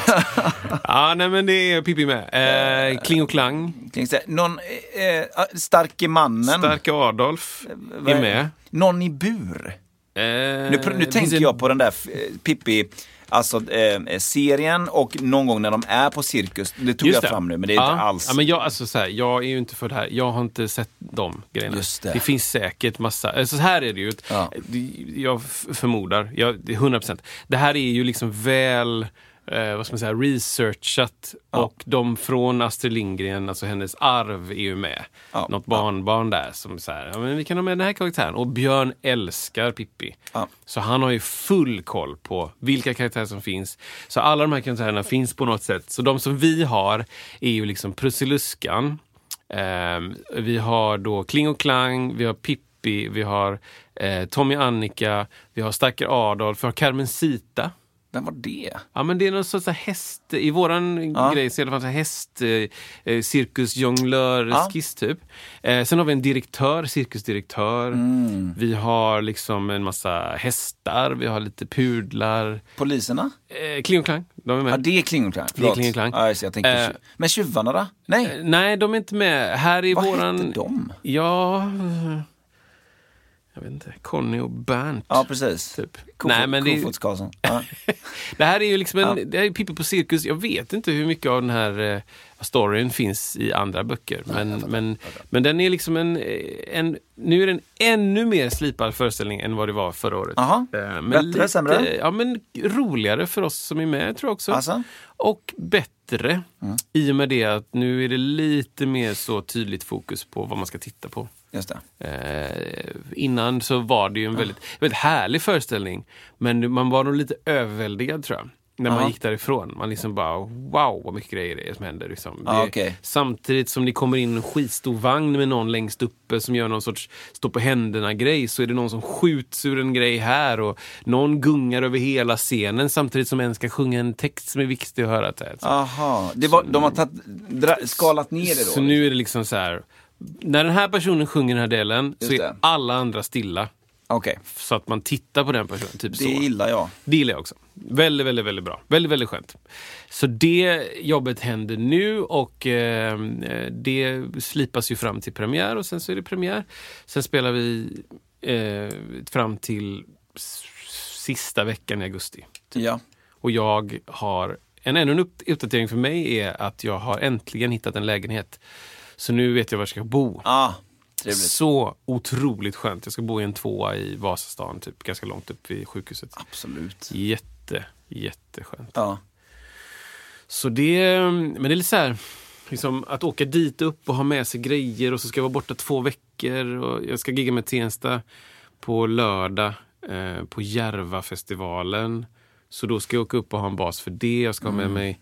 ja, nej men det är Pippi med. Eh, Kling och Klang.
Kling, så här, Någon eh, eh, starke mannen.
Starka Adolf
Eh, Vad
är med.
Någon i bur.
Eh,
Nu, pr- nu
det finns
tänker
en-
jag på den där eh, Pippi, alltså eh, serien och någon gång när de är på cirkus. Det tog
Just
jag fram nu, men det är
ja.
inte alls.
Ja, men jag, alltså, så här, jag är ju inte för det här. Jag har inte sett de grejerna.
Just det.
finns säkert massa... Alltså, så här är det ju. ett-
Ja.
det- Jag f- förmodar, jag, det är 100%. Det här är ju liksom väl... Eh, vad ska man säga, researchat och de från Astrid Lindgren, alltså hennes arv är ju med.
Ja.
Något barnbarn där som så här, ja, men vi kan ha med den här karaktären. Och Björn älskar Pippi.
Ja.
Så han har ju full koll på vilka karaktärer som finns. Så alla de här karaktärerna finns på något sätt. Så de som vi har är ju liksom Prussiluskan. Ehm, vi har då Kling och Klang, vi har Pippi, vi har eh, Tommy Annika, vi har Stacker Adolf, vi har Carmencita.
Vem var det?
Ja, men det är någon sorts så här häst... I våran grej så är det fanns en häst, eh, eh, cirkusjonglör-skiss typ. Eh, sen har vi en direktör, cirkusdirektör.
Mm.
Vi har liksom en massa hästar, vi har lite pudlar.
Poliserna?
Eh, kling och klang, de är med.
Ja, det är Kling och Klang.
Det är
Förlåt.
Kling och Klang.
Ja, just, det, jag tänkte,
Eh.
tju- men tjuvarna då? Nej,
Nej, de är inte med. Här är
vad
våran...
hette de?
Ja... eh, Jag vet inte. Conny och Bernt.
Ja, precis.
Typ.
Kofo-
Nej, men det-
Kofots Karlsson. Ja.
Det här är ju liksom en, det här är Pippi på cirkus. Jag vet inte hur mycket av den här eh, storyn finns i andra böcker. Men, men, men den är liksom en, eh, en... Nu är den ännu mer slipad föreställning än vad det var förra året.
Jaha.
Eh, men
Bättre, sämre?
Ja, men roligare för oss som är med tror jag också.
Alltså? Mm.
Och bättre i och med det att nu är det lite mer så tydligt fokus på vad man ska titta på.
Just det.
Eh, innan så var det ju en väldigt, väldigt härlig föreställning. Men man var nog lite överväldigad tror jag. När man gick därifrån. Man liksom bara wow vad mycket grejer det är som händer. Liksom.
Ja,
det,
okej.
Samtidigt som det kommer in en skitstor vagn med någon längst uppe som gör någon sorts stå på händerna-grej. Så är det någon som skjuts ur en grej här och någon gungar över hela scenen samtidigt som en ska sjunga en text som är viktig att höra. Så här.
Aha. Det var, de har tatt, dra, skalat ner det då?
liksom Så nu är det liksom så här. När den här personen sjunger den här delen så
Just
är
det.
alla andra stilla.
liksom. Okej,
Så att man tittar på den personen. Typ
det
så.
gillar jag.
Det gillar jag också. Väldigt, väldigt, väldigt bra. Väldigt, väldigt skönt. Så det jobbet händer nu och eh, det slipas ju fram till premiär och sen så är det premiär. Sen spelar vi eh, fram till s- sista veckan i augusti.
Ja.
Och jag har, en ännu en upp- uppdatering för mig är att jag har äntligen hittat en lägenhet. Så nu vet jag var jag ska bo.
Ah, trevligt.
Så otroligt skönt. Jag ska bo i en tvåa i Vasastan, typ, ganska långt upp vid sjukhuset.
Absolut.
Jätte, jätteskönt.
Ja.
Så det, men det är lite så här, liksom att åka dit upp och ha med sig grejer och så ska jag vara borta två veckor. Och jag ska gigga med Tensta på lördag eh, på Järvafestivalen. Så då ska jag åka upp och ha en bas för det. Jag ska ha med mig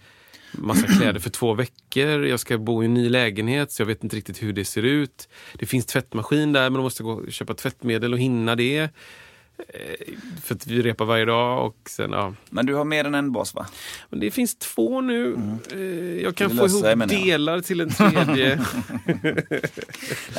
massa kläder för två veckor. Jag ska bo i en ny lägenhet så jag vet inte riktigt hur det ser ut. Det finns tvättmaskin där men då måste jag gå och köpa tvättmedel och hinna det. Eh, För att vi repar varje dag och sen ja.
Men du har mer än en bas va?
Men det finns två nu. Eh, Jag kan
Det
få
löser
ihop
sig, menar Mm. jag.
delar till en tredje.
Nej,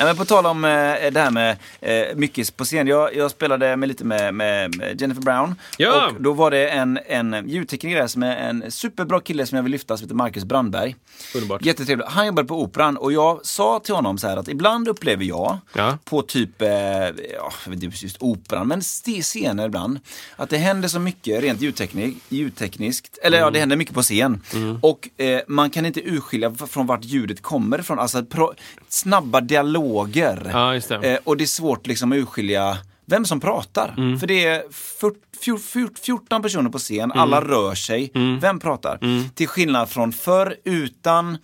men på tal om eh, det här med eh, mycket på scen. Jag, jag spelade med lite med, med med Jennifer Brown.
Ja.
Och då var det en, en ljudtekniker där som är en superbra kille som jag vill lyfta som heter Marcus Brandberg.
Underbart.
Jättetrevlig. Han jobbade på Operan och jag sa till honom så här att ibland upplever jag
Ja.
på typ, eh, ja, jag vet inte just operan, men st- scener ibland. Att det händer så mycket rent ljudteknik, ljudtekniskt, eller ja, det händer mycket på scen. Och eh, man kan inte urskilja v- från vart ljudet kommer ifrån. Alltså pro- snabba dialoger.
Ja, just det.
Eh, och det är svårt liksom att urskilja vem som pratar.
Mm.
För det är 40, 40, 14 personer på scen, alla rör sig.
Mm.
Vem pratar? Till skillnad från förr utan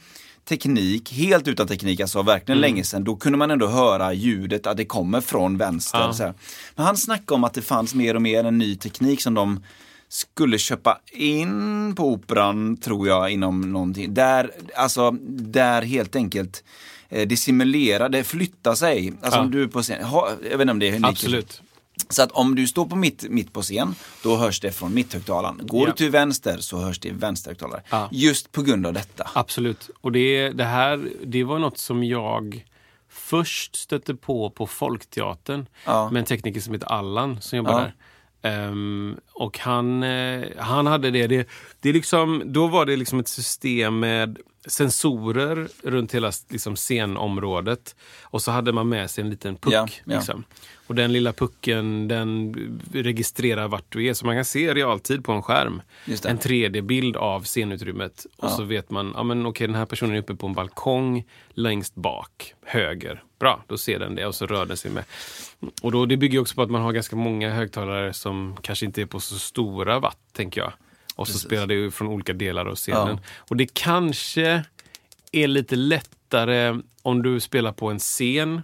teknik, helt utan teknik, alltså verkligen
Mm.
länge sedan, då kunde man ändå höra ljudet att det kommer från vänster. Så här. Men han snackade om att det fanns mer och mer en ny teknik som de skulle köpa in på operan, tror jag, inom någonting. Där, alltså, där helt enkelt eh, det simulerade flyttar sig. Alltså om du är på scen, ha, jag vet inte om det är unikt.
Absolut.
Så att om du står på mitt, mitt på scen, då hörs det från mitthögtalaren. Går
Ja.
du till vänster så hörs det i vänsterhögtalare.
Ja.
Just på grund av detta.
Absolut. Och det, det här det var något som jag först stötte på på Folkteatern
Ja.
med en tekniker som heter Allan som jobbar
Ja.
där. Ehm, och han, eh, han hade det. det, det är liksom, då var det liksom ett system med sensorer runt hela liksom, scenområdet. Och så hade man med sig en liten puck.
Ja, ja.
Liksom. Och den lilla pucken den registrerar vart du är. Så man kan se i realtid på en skärm
Just det.
en 3D-bild av scenutrymmet. Och så vet man, ja men okej den här personen är uppe på en balkong längst bak, höger. Bra, då ser den det och så rör den sig med. Och då, det bygger ju också på att man har ganska många högtalare som kanske inte är på så stora watt, tänker jag. Och så spelar det ju från olika delar av scenen. Och det kanske är lite lättare om du spelar på en scen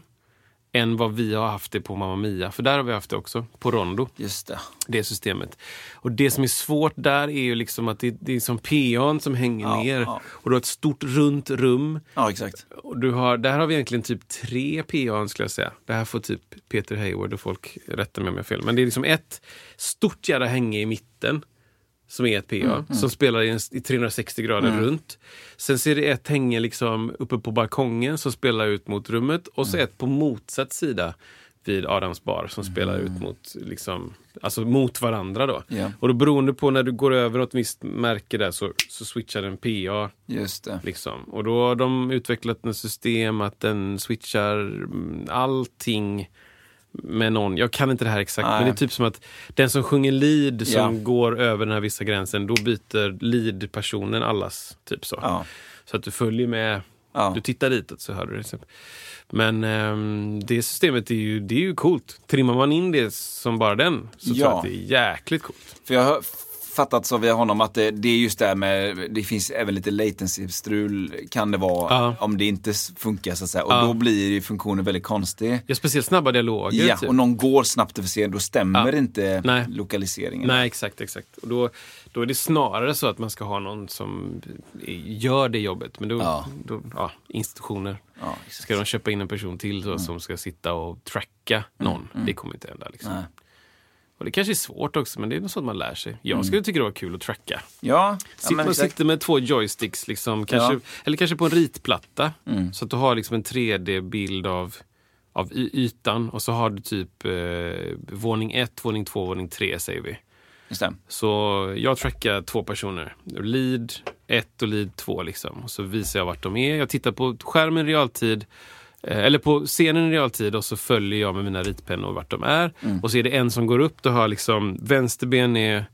än vad vi har haft det på Mamma Mia. För där har vi haft det också, på Rondo
Just det.
det systemet. Och det som är svårt där är ju liksom att det, det är som PA'n som hänger
Ja,
ner.
ja.
Och du har ett stort runt rum.
Ja, exakt.
Och du har, där har vi egentligen typ tre PA'n skulle jag säga. Det här får typ Peter Hayward och folk rätta mig om jag har fel. Men det är liksom ett stort jävla hänge i mitten som är ett PA, som spelar i, en, i 360 grader runt. Sen ser det ett hänge liksom uppe på balkongen som spelar ut mot rummet och så ett på motsatt sida vid Adams bar som spelar ut mot, liksom, alltså mot varandra. Då.
Ja.
Och då beroende på när du går över åt ett visst märke där så, så switchar den PA
Just det.
Liksom. Och då har de utvecklat ett system att den switchar mm, allting med någon. Jag kan inte det här exakt,
Nej.
men det är typ som att den som sjunger lead som
Ja.
går över den här vissa gränsen, då byter lead-personen allas. Typ så.
Ja.
Så att du följer med,
Ja.
du tittar ditåt så hör du det. Liksom. Men ehm, det systemet är ju, det är ju coolt. Trimmar man in det som bara den så tror jag
Ja.
att det är jäkligt coolt.
För jag har fattat så via honom att det, det är just det här med, det finns även lite latency-strul kan det vara
Ja.
om det inte s- funkar så att säga. Och då blir ju funktionen väldigt konstig.
Ja, speciellt snabba dialoger.
Ja,
typ.
och någon går snabbt över scenen, då stämmer
Ja.
inte
Nej.
lokaliseringen.
Nej, exakt. exakt. Och då, då är det snarare så att man ska ha någon som gör det jobbet. Men då,
Ja.
då ja, institutioner.
Ja, exakt. Mm.
ska de köpa in en person till så, som ska sitta och tracka någon. Det kommer inte hända. Liksom.
Nej.
Och det kanske är svårt också, men det är något sånt man lär sig. Jag skulle tycka det var kul att tracka.
Mm. Ja, ja
Sitt,
men
man
exakt.
sitter med två joysticks, liksom, kanske,
Ja. Mm.
eller kanske på en ritplatta. Så att du har liksom en 3D-bild av av y- ytan och så har du typ eh, våning ett, våning två, våning tre säger vi.
Just det.
Så jag trackar två personer. Lead 1 och lead 2. Liksom. Och så visar jag vart de är. Jag tittar på skärmen i realtid. eh, Eller på scenen i realtid och så följer jag med mina ritpennor vart de är. Och så är det en som går upp. Då har jag liksom vänsterben är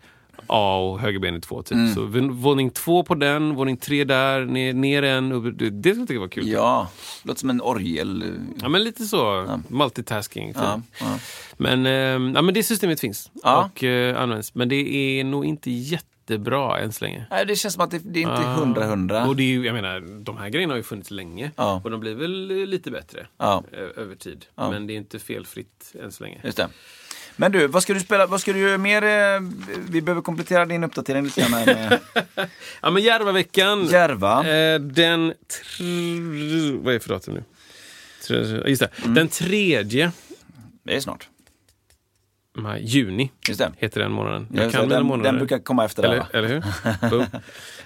A och högerben är 2. Typ. Så v- våning 2 på den, våning 3 där, ner, ner en. upp- Det det skulle jag tycka var kul.
Ja, låter som en orgel.
Ja, men lite så. Multitasking. Typ.
Ja, ja.
Men, eh, ja, men det systemet finns
Ja.
och eh, används. Men det är nog inte jättebra än så länge.
Nej, det känns som att det, det är inte hundra hundra.
Och det är ju, jag menar, de här grejerna har ju funnits länge
Ja.
och de blir väl eh, lite bättre
Ja.
ö- över tid. Men det är inte felfritt än så länge.
Just det. Men du, vad ska du spela? Vad ska du göra mer? eh, Vi behöver komplettera din uppdatering lite grann här med
Ja, men Järvaveckan.
Järva.
Eh, den... Tr- vad är det för datum nu? Tr- Just det.
Mm.
Den tredje
Det är snart.
maj, juni
Just det.
heter den månaden. Jag
Just
kan
det.
mina
den,
månader.
den brukar komma efter det.
Eller,
va?
eller hur? Boom.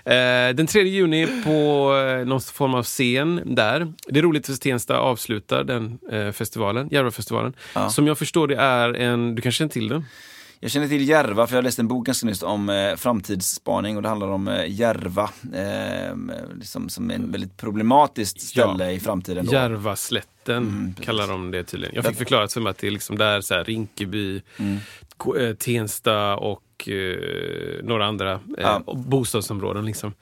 eh, den 3 juni på eh, någon form av scen där. Det är roligt för Tensta avslutar den eh, festivalen, Järvafestivalen. Som jag förstår det är en, du kanske känner till den?
Jag känner till Järva för jag läste en bok ganska nyss om eh, framtidsspaning och det handlar om eh, Järva. Eh, liksom, som en väldigt problematiskt ställe i framtiden. Då. Mm,
Järvaslätten kallar de det tydligen. Jag fick förklarat för mig att det är liksom där så här, Rinkeby,
Mm.
K- eh, Tensta och eh, några andra eh,
Ja.
och bostadsområden. Liksom.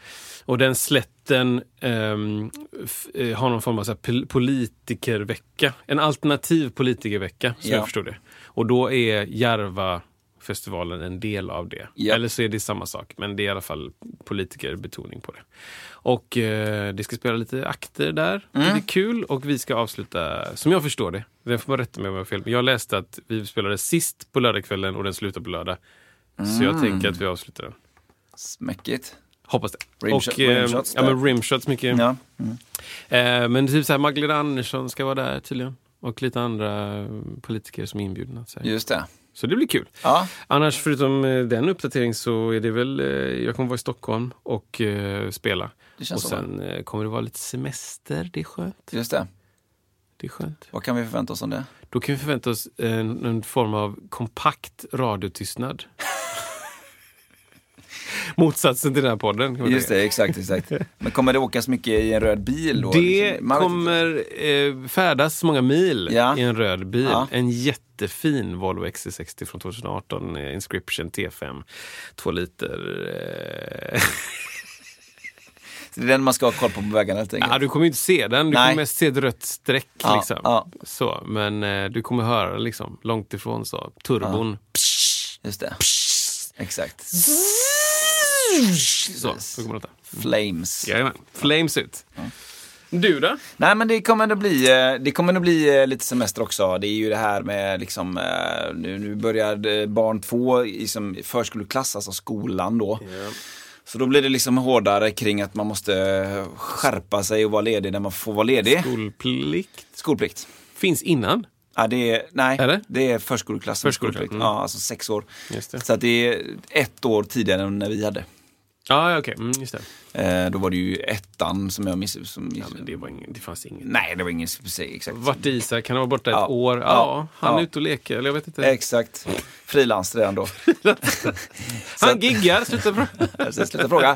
Och den slätten ehm, f- eh, har någon form av så här, pol- politikervecka. En alternativ politikervecka, som
Ja.
jag förstod det. Och då är Järva festivalen en del av det.
Ja.
Eller så är det samma sak, men det är i alla fall politikerbetoning på det. Och eh, det ska spela lite akter där.
Mm.
Det är kul och vi ska avsluta, som jag förstår det, den får man rätta mig om jag har fel, men jag läste att vi spelade sist på lördagskvällen och den slutar på lördag. Så
Mm.
jag tänker att vi avslutar den.
Smäckigt.
Hoppas det.
Rimshot-
och, eh,
rimshots
ja,
där.
men rimshots mycket.
Ja.
Eh, men typ så här Magdalena Andersson ska vara där tydligen. Och lite andra eh, politiker som är inbjudna. Så, här.
Just det.
så det blir kul.
Ja.
Annars förutom eh, den uppdateringen så är det väl, eh, jag kommer vara i Stockholm och eh, spela.
Det
Och
känns så.
sen eh, kommer det vara lite semester, det är skönt.
Just det.
Det är skönt.
Vad kan vi förvänta oss om det?
Då kan vi förvänta oss en, en form av kompakt radiotystnad. Motsatsen till den här podden. kan man
Just
säga.
det, exakt, exakt. Men kommer det åkas mycket i en röd bil då?
Det
Liksom, man vet inte.
kommer eh, färdas många mil
Ja.
i en röd bil.
Ja.
En jättefin Volvo XC60 från 2018, eh, Inscription T5, två liter. Eh,
Så Det är den man ska ha koll på på vägarna helt enkelt.
ja, du kommer ju inte se den, du
Nej.
kommer mest se ett rött streck.
Ja,
Liksom.
ja.
Så, men eh, du kommer höra den liksom, långt ifrån så. turbon.
Just det. Exakt.
Så, så kommer det låta.
Flames.
Jajamän. Flames ut. Du då?
Nej men det kommer nog bli, eh, det kommer nog bli eh, lite semester också. Det är ju det här med liksom, eh, nu, nu börjar eh, barn två i som förskoleklass, alltså skolan då. Så då blir det liksom hårdare kring att man måste eh, skärpa sig och vara ledig när man får vara ledig.
Skolplikt
Skolplikt.
finns innan.
Ja, det är, nej,
Eller?
det är förskoleklass. med
Förskoleklass,
skolplikt.
mm.
Ja, alltså sex år.
Just det.
Så att det är ett år tidigare än när vi hade.
Ja, ja, okej. Mm, just det.
Eh, då var det ju ettan som jag missade. Som,
Ja, men det, var ingen, det fanns inget.
Nej, det var ingen specifik exakt.
Vart är Isak? Han har varit borta ett
Ja.
år. Ja,
Ja.
han är
Ja.
ute och leker. Eller jag vet inte.
Exakt. Frilans redan då.
han giggar. Sluta prata.
Så Sluta fråga.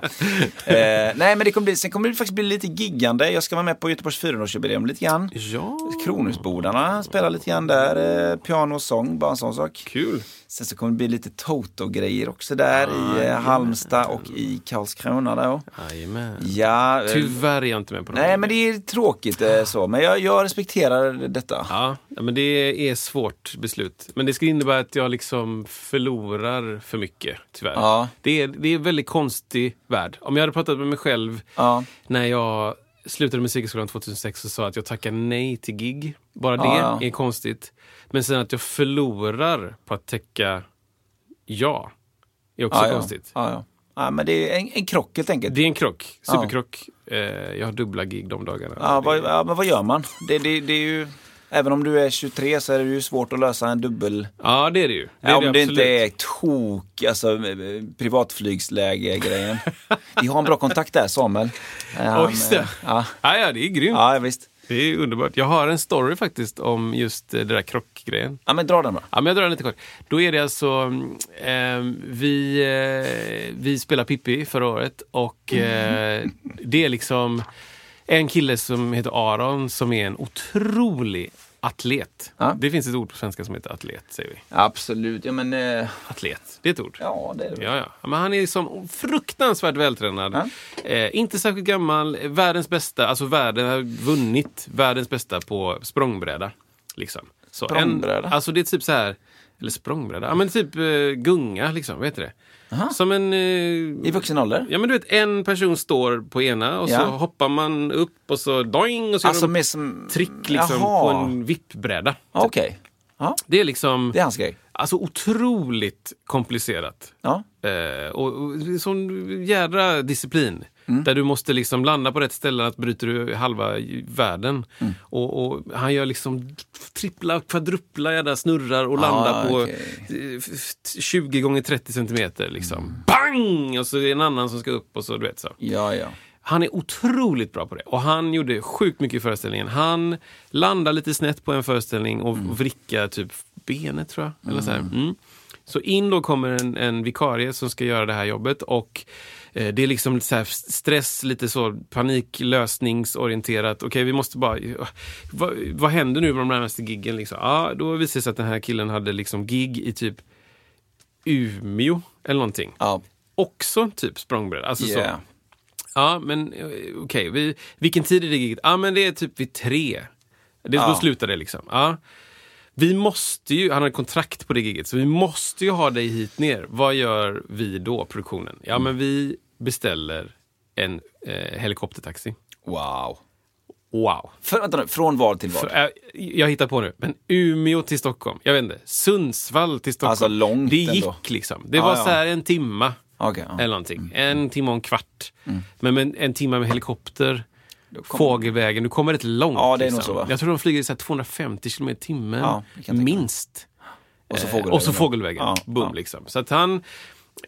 Eh, nej, men det kommer bli, sen kommer det faktiskt bli lite giggande. Jag ska vara med på Göteborgs 400-årsjubileum lite grann.
Ja,
Kronhusbodarna spelar lite grann där. Eh, piano och sång, bara en sån sak.
kul.
Sen så kommer det bli lite Toto-grejer också där
Ah,
i eh, Halmstad och i Karlskrona då.
Jajamän.
Ja, eh,
Tyvärr är jag inte med på
nej
här.
men det är tråkigt eh, så. Men jag, jag respekterar detta.
Ja, ja, men det är svårt beslut. Men det skulle innebära att jag liksom förlorar för mycket, tyvärr.
Ja.
Det, är, det är en väldigt konstig värld. Om jag hade pratat med mig själv
Ja.
när jag slutade musikskolan 2006 och sa att jag tackar nej till gig. Bara det
Ja, ja.
är konstigt. Men sen att jag förlorar på att täcka ja, är också
Ja, ja.
konstigt.
Ja, ja. ja, men det är en, en krock helt enkelt.
Det är en krock. Superkrock. Eh, Jag har dubbla gig de dagarna.
Ja, vad, ja, men vad gör man? Det, det, det är ju, även om du är 23 så är det ju svårt att lösa en dubbel...
Ja, det är det ju. Det är
Ja, om det
absolut.
inte är tok, alltså eh, privatflygsläge-grejen. Vi har en bra kontakt där, Samuel. Eh, han,
just det.
eh, Ja,
Ja, ja, det är grymt.
ja visst.
Det är underbart. Jag har en story faktiskt om just eh, det där krockgrejen.
Ja, men dra den bara.
Ja, men jag drar den lite kort. Då är det alltså, mm, ehm, vi, eh, vi spelar Pippi förra året och eh, det är liksom en kille som heter Aron som är en otrolig atlet.
Ja.
Det finns ett ord på svenska som heter atlet, säger vi.
Absolut, ja men... eh,
Atlet, det är ett ord.
Ja, det är det.
Ja, ja. Men han är som fruktansvärt vältränad. Eh, inte särskilt gammal. Världens bästa, alltså världen har vunnit världens bästa på språngbräda. Liksom. Så
Språngbräda?
En, alltså det är typ så här, eller språngbräda, ja men typ eh, gunga liksom, vad heter det? Som en... eh,
I vuxen ålder?
Ja men du vet, en person står på ena och så
Ja.
hoppar man upp och så doing och så
Alltså
gör de
med som...
trick liksom
Jaha.
på en vippbräda.
Okej. Ja,
Det är liksom...
det är hans grej.
Alltså otroligt komplicerat.
Ja.
Eh, och, och sån jädra disciplin. Där du måste liksom landa på rätt ställe, att bryter du halva i- världen. Och, och han gör liksom trippla, kvadrupla jädra snurrar och landar på
okej.
eh, f- f- 20 gånger 30 centimeter. Liksom. Bang! Och så är det en annan som ska upp och så, du vet så.
Ja, ja.
Han är otroligt bra på det. Och han gjorde sjukt mycket i föreställningen. Han landar lite snett på en föreställning och vrickar typ benet tror jag. Eller så, här. Mm. så in då kommer en, en vikarie som ska göra det här jobbet och eh, det är liksom lite så här stress, lite så paniklösningsorienterat. Okej, vi måste bara... Vad, vad händer nu med de närmaste giggen? Liksom? Ja, då visade det sig att den här killen hade liksom gig i typ Umeå eller någonting.
ja.
Också typ språngbräda. Alltså så.
Yeah.
Ja, men eh, okej. Vi, vilken tid är det giget? Ja, men det är typ vid tre. Det, Då
Ja.
slutar det liksom. Ja. Vi måste ju, han har kontrakt på det giget, så vi måste ju ha dig hit ner. Vad gör vi då, produktionen? Ja, men vi beställer en eh, helikoptertaxi.
Wow.
Wow.
För, vänta nu, från var till var?
För, eh, jag hittar på nu, men Umeå till Stockholm. Jag vet inte. Sundsvall till Stockholm.
Alltså, långt
det gick
ändå.
liksom. Det
Ja,
var
ja.
så här en timma.
Okej, ja. Mm.
Eller någonting. En timme och en kvart. Men, men en timme med helikopter.
kommer-
Fågelvägen, du kommer rätt långt. liksom.
Ja, det är nog så, va?
Jag tror de flyger i så här 250 km i timmen,
Ja, det kan jag tänka mig.
minst.
och så
Eh,
fågelvägen.
Och så fågelvägen.
Ja,
Boom,
ja.
liksom. Så att han...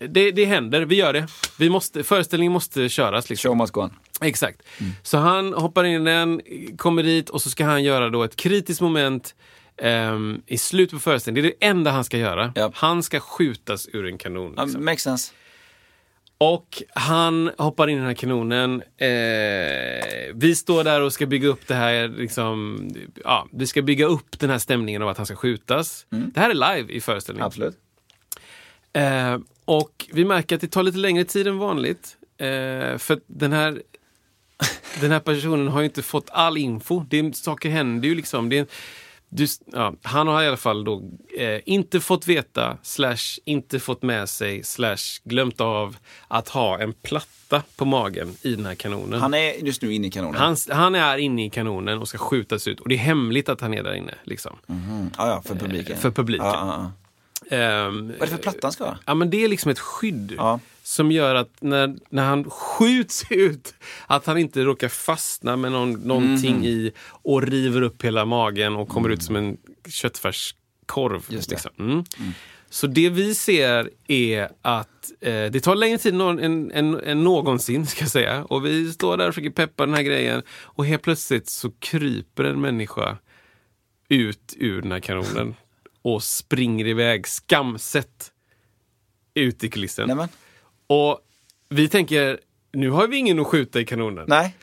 Det, det händer, vi gör det. Vi måste, föreställningen måste köras. Liksom.
Show must go on.
Exakt.
Mm.
Så han hoppar in i den, kommer dit och så ska han göra då ett kritiskt moment ehm, i slutet på föreställningen. Det är det enda han ska göra.
Ja.
Han ska skjutas ur en kanon.
Ja,
Liksom.
makes sense.
Och han hoppar in i den här kanonen. Eh, vi står där och ska bygga upp det här. Liksom, ja, vi ska bygga upp den här stämningen av att han ska skjutas. Det här är live i föreställningen.
Mm. Absolut.
Eh, och vi märker att det tar lite längre tid än vanligt. Eh, för att den här, den här personen har ju inte fått all info. Det är, saker händer ju liksom. Det är, du, ja, han har i alla fall då eh, inte fått veta, slash inte fått med sig, slash glömt av att ha en platta på magen i den här kanonen.
Han är just nu inne i kanonen.
Han, han är inne i kanonen och ska skjutas ut och det är hemligt att han är där inne. Liksom.
Mm. Ja, ja, för publiken.
för publiken.
Ja, ja, ja.
Ehm,
Vad är det för plattan ska ha?
Ja, men det är liksom ett skydd
Ja.
som gör att när, när han skjuts ut, att han inte råkar fastna med någon, någonting
Mm.
i och river upp hela magen och kommer ut som en köttfärskorv.
Just det.
Liksom. Mm. Så det vi ser är att eh, det tar längre tid nå- än, än, än någonsin, ska jag säga. Och vi står där och försöker peppa den här grejen och helt plötsligt så kryper en människa ut ur den här kanonen och springer iväg skamset ut i kulissen.
Nej, men.
Och vi tänker, nu har vi ingen att skjuta i kanonen.
Nej.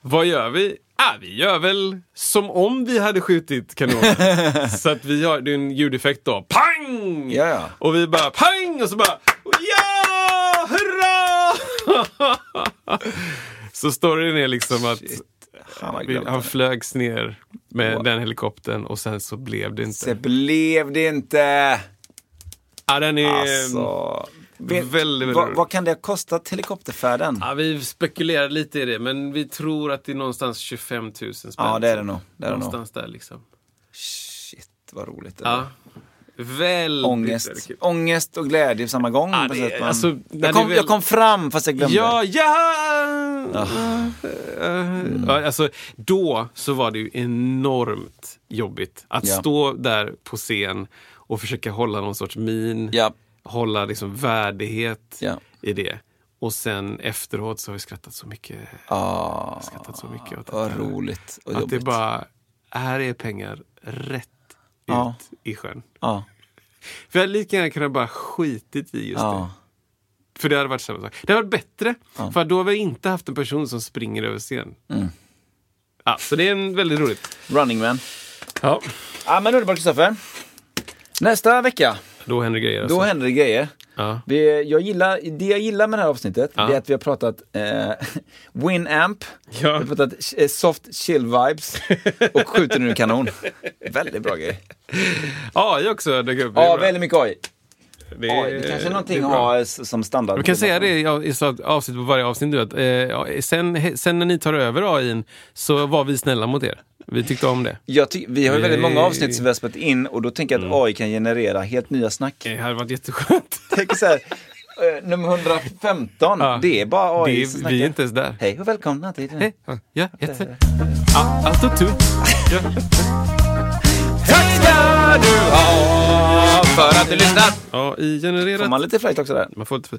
Vad gör vi? Ah, vi gör väl som om vi hade skjutit kanonen. så att vi har, det är en ljudeffekt då. Pang!
Ja, ja.
Och vi bara pang! Och så bara ja! Hurra! så storyn är liksom att
Han var
vi,
glad.
han flögs ner med den helikoptern och sen så blev det inte.
Det blev det inte.
Ja, Ah, den är...
Alltså. Vet,
Ehm, väldigt, väldigt
vad,
roligt.
vad kan det ha kostat helikopterfärden?
Ja, vi spekulerar lite i det, men vi tror att det är någonstans 25 000 spänn.
Ja, det är det nog. Det är det nog.
någonstans där liksom.
Shit, vad roligt. det var.
Ja. Väldigt, väldigt
Ångest.
kul.
Ångest och glädje på samma gång.
Ja,
på
det-
sätt, man-
alltså, när
jag, kom,
det väl-
jag kom fram fast jag glömde. Ah.
Ja, ja! Ja, Alltså, då så var det ju enormt jobbigt att
Ja.
stå där på scen och försöka hålla någon sorts min,
Ja.
hålla liksom värdighet
Ja.
i det. Och sen efteråt så har vi skrattat så mycket.
Ah,
Skrattat så mycket åt
vad
detta.
roligt och
Att det
jobbigt.
bara, här är pengar rätt
Ja.
ut i sjön.
Ja,
För jag hade lika gärna kunnat bara skitit i just
ja,
det. För det hade varit samma sak. Det hade varit bättre, för då hade vi inte haft en person som springer över scen.
Mm.
Ja, så det är en väldigt roligt.
running man.
Ja,
Ja, men underbart Kristoffer. Nästa vecka,
då händer grejer.
då
Alltså.
händer det grejer.
Ja.
Vi, jag gillar, det jag gillar med det här avsnittet det är att vi har pratat eh, Winamp,
Ja.
vi har pratat eh, soft chill vibes och skjuter nu kanon. Väldigt bra grej.
AI också dök upp. Det är
Ja,
bra.
väldigt mycket AI.
Det är-
AI, det kanske är någonting
det
att
bra.
ha s- som standard.
Vi kan säga det i av- i så- avsnitt på varje avsnitt nu att eh, ja, sen, he- sen när ni tar över AIn så var vi snälla mot er. Vi tyckte om det.
Jag ty- vi har ju väldigt
Vi-
många avsnitt som vi har spelat in och då tänker jag
Mm.
att AI kan generera helt nya snack.
Det hade varit jätteskönt.
Tänk så här, eh, nummer 115,
Ja.
det är bara AI
Det är-
som
vi
snackar.
är inte ens där.
Hej och välkomna till...
Hej. Eh, Ja, jätte. Ja, allt åt tur. Ja.
Tack ska du ha för att du lyssnar!
AI
Får
genererat.
man lite flöjt också där?
Man får inte...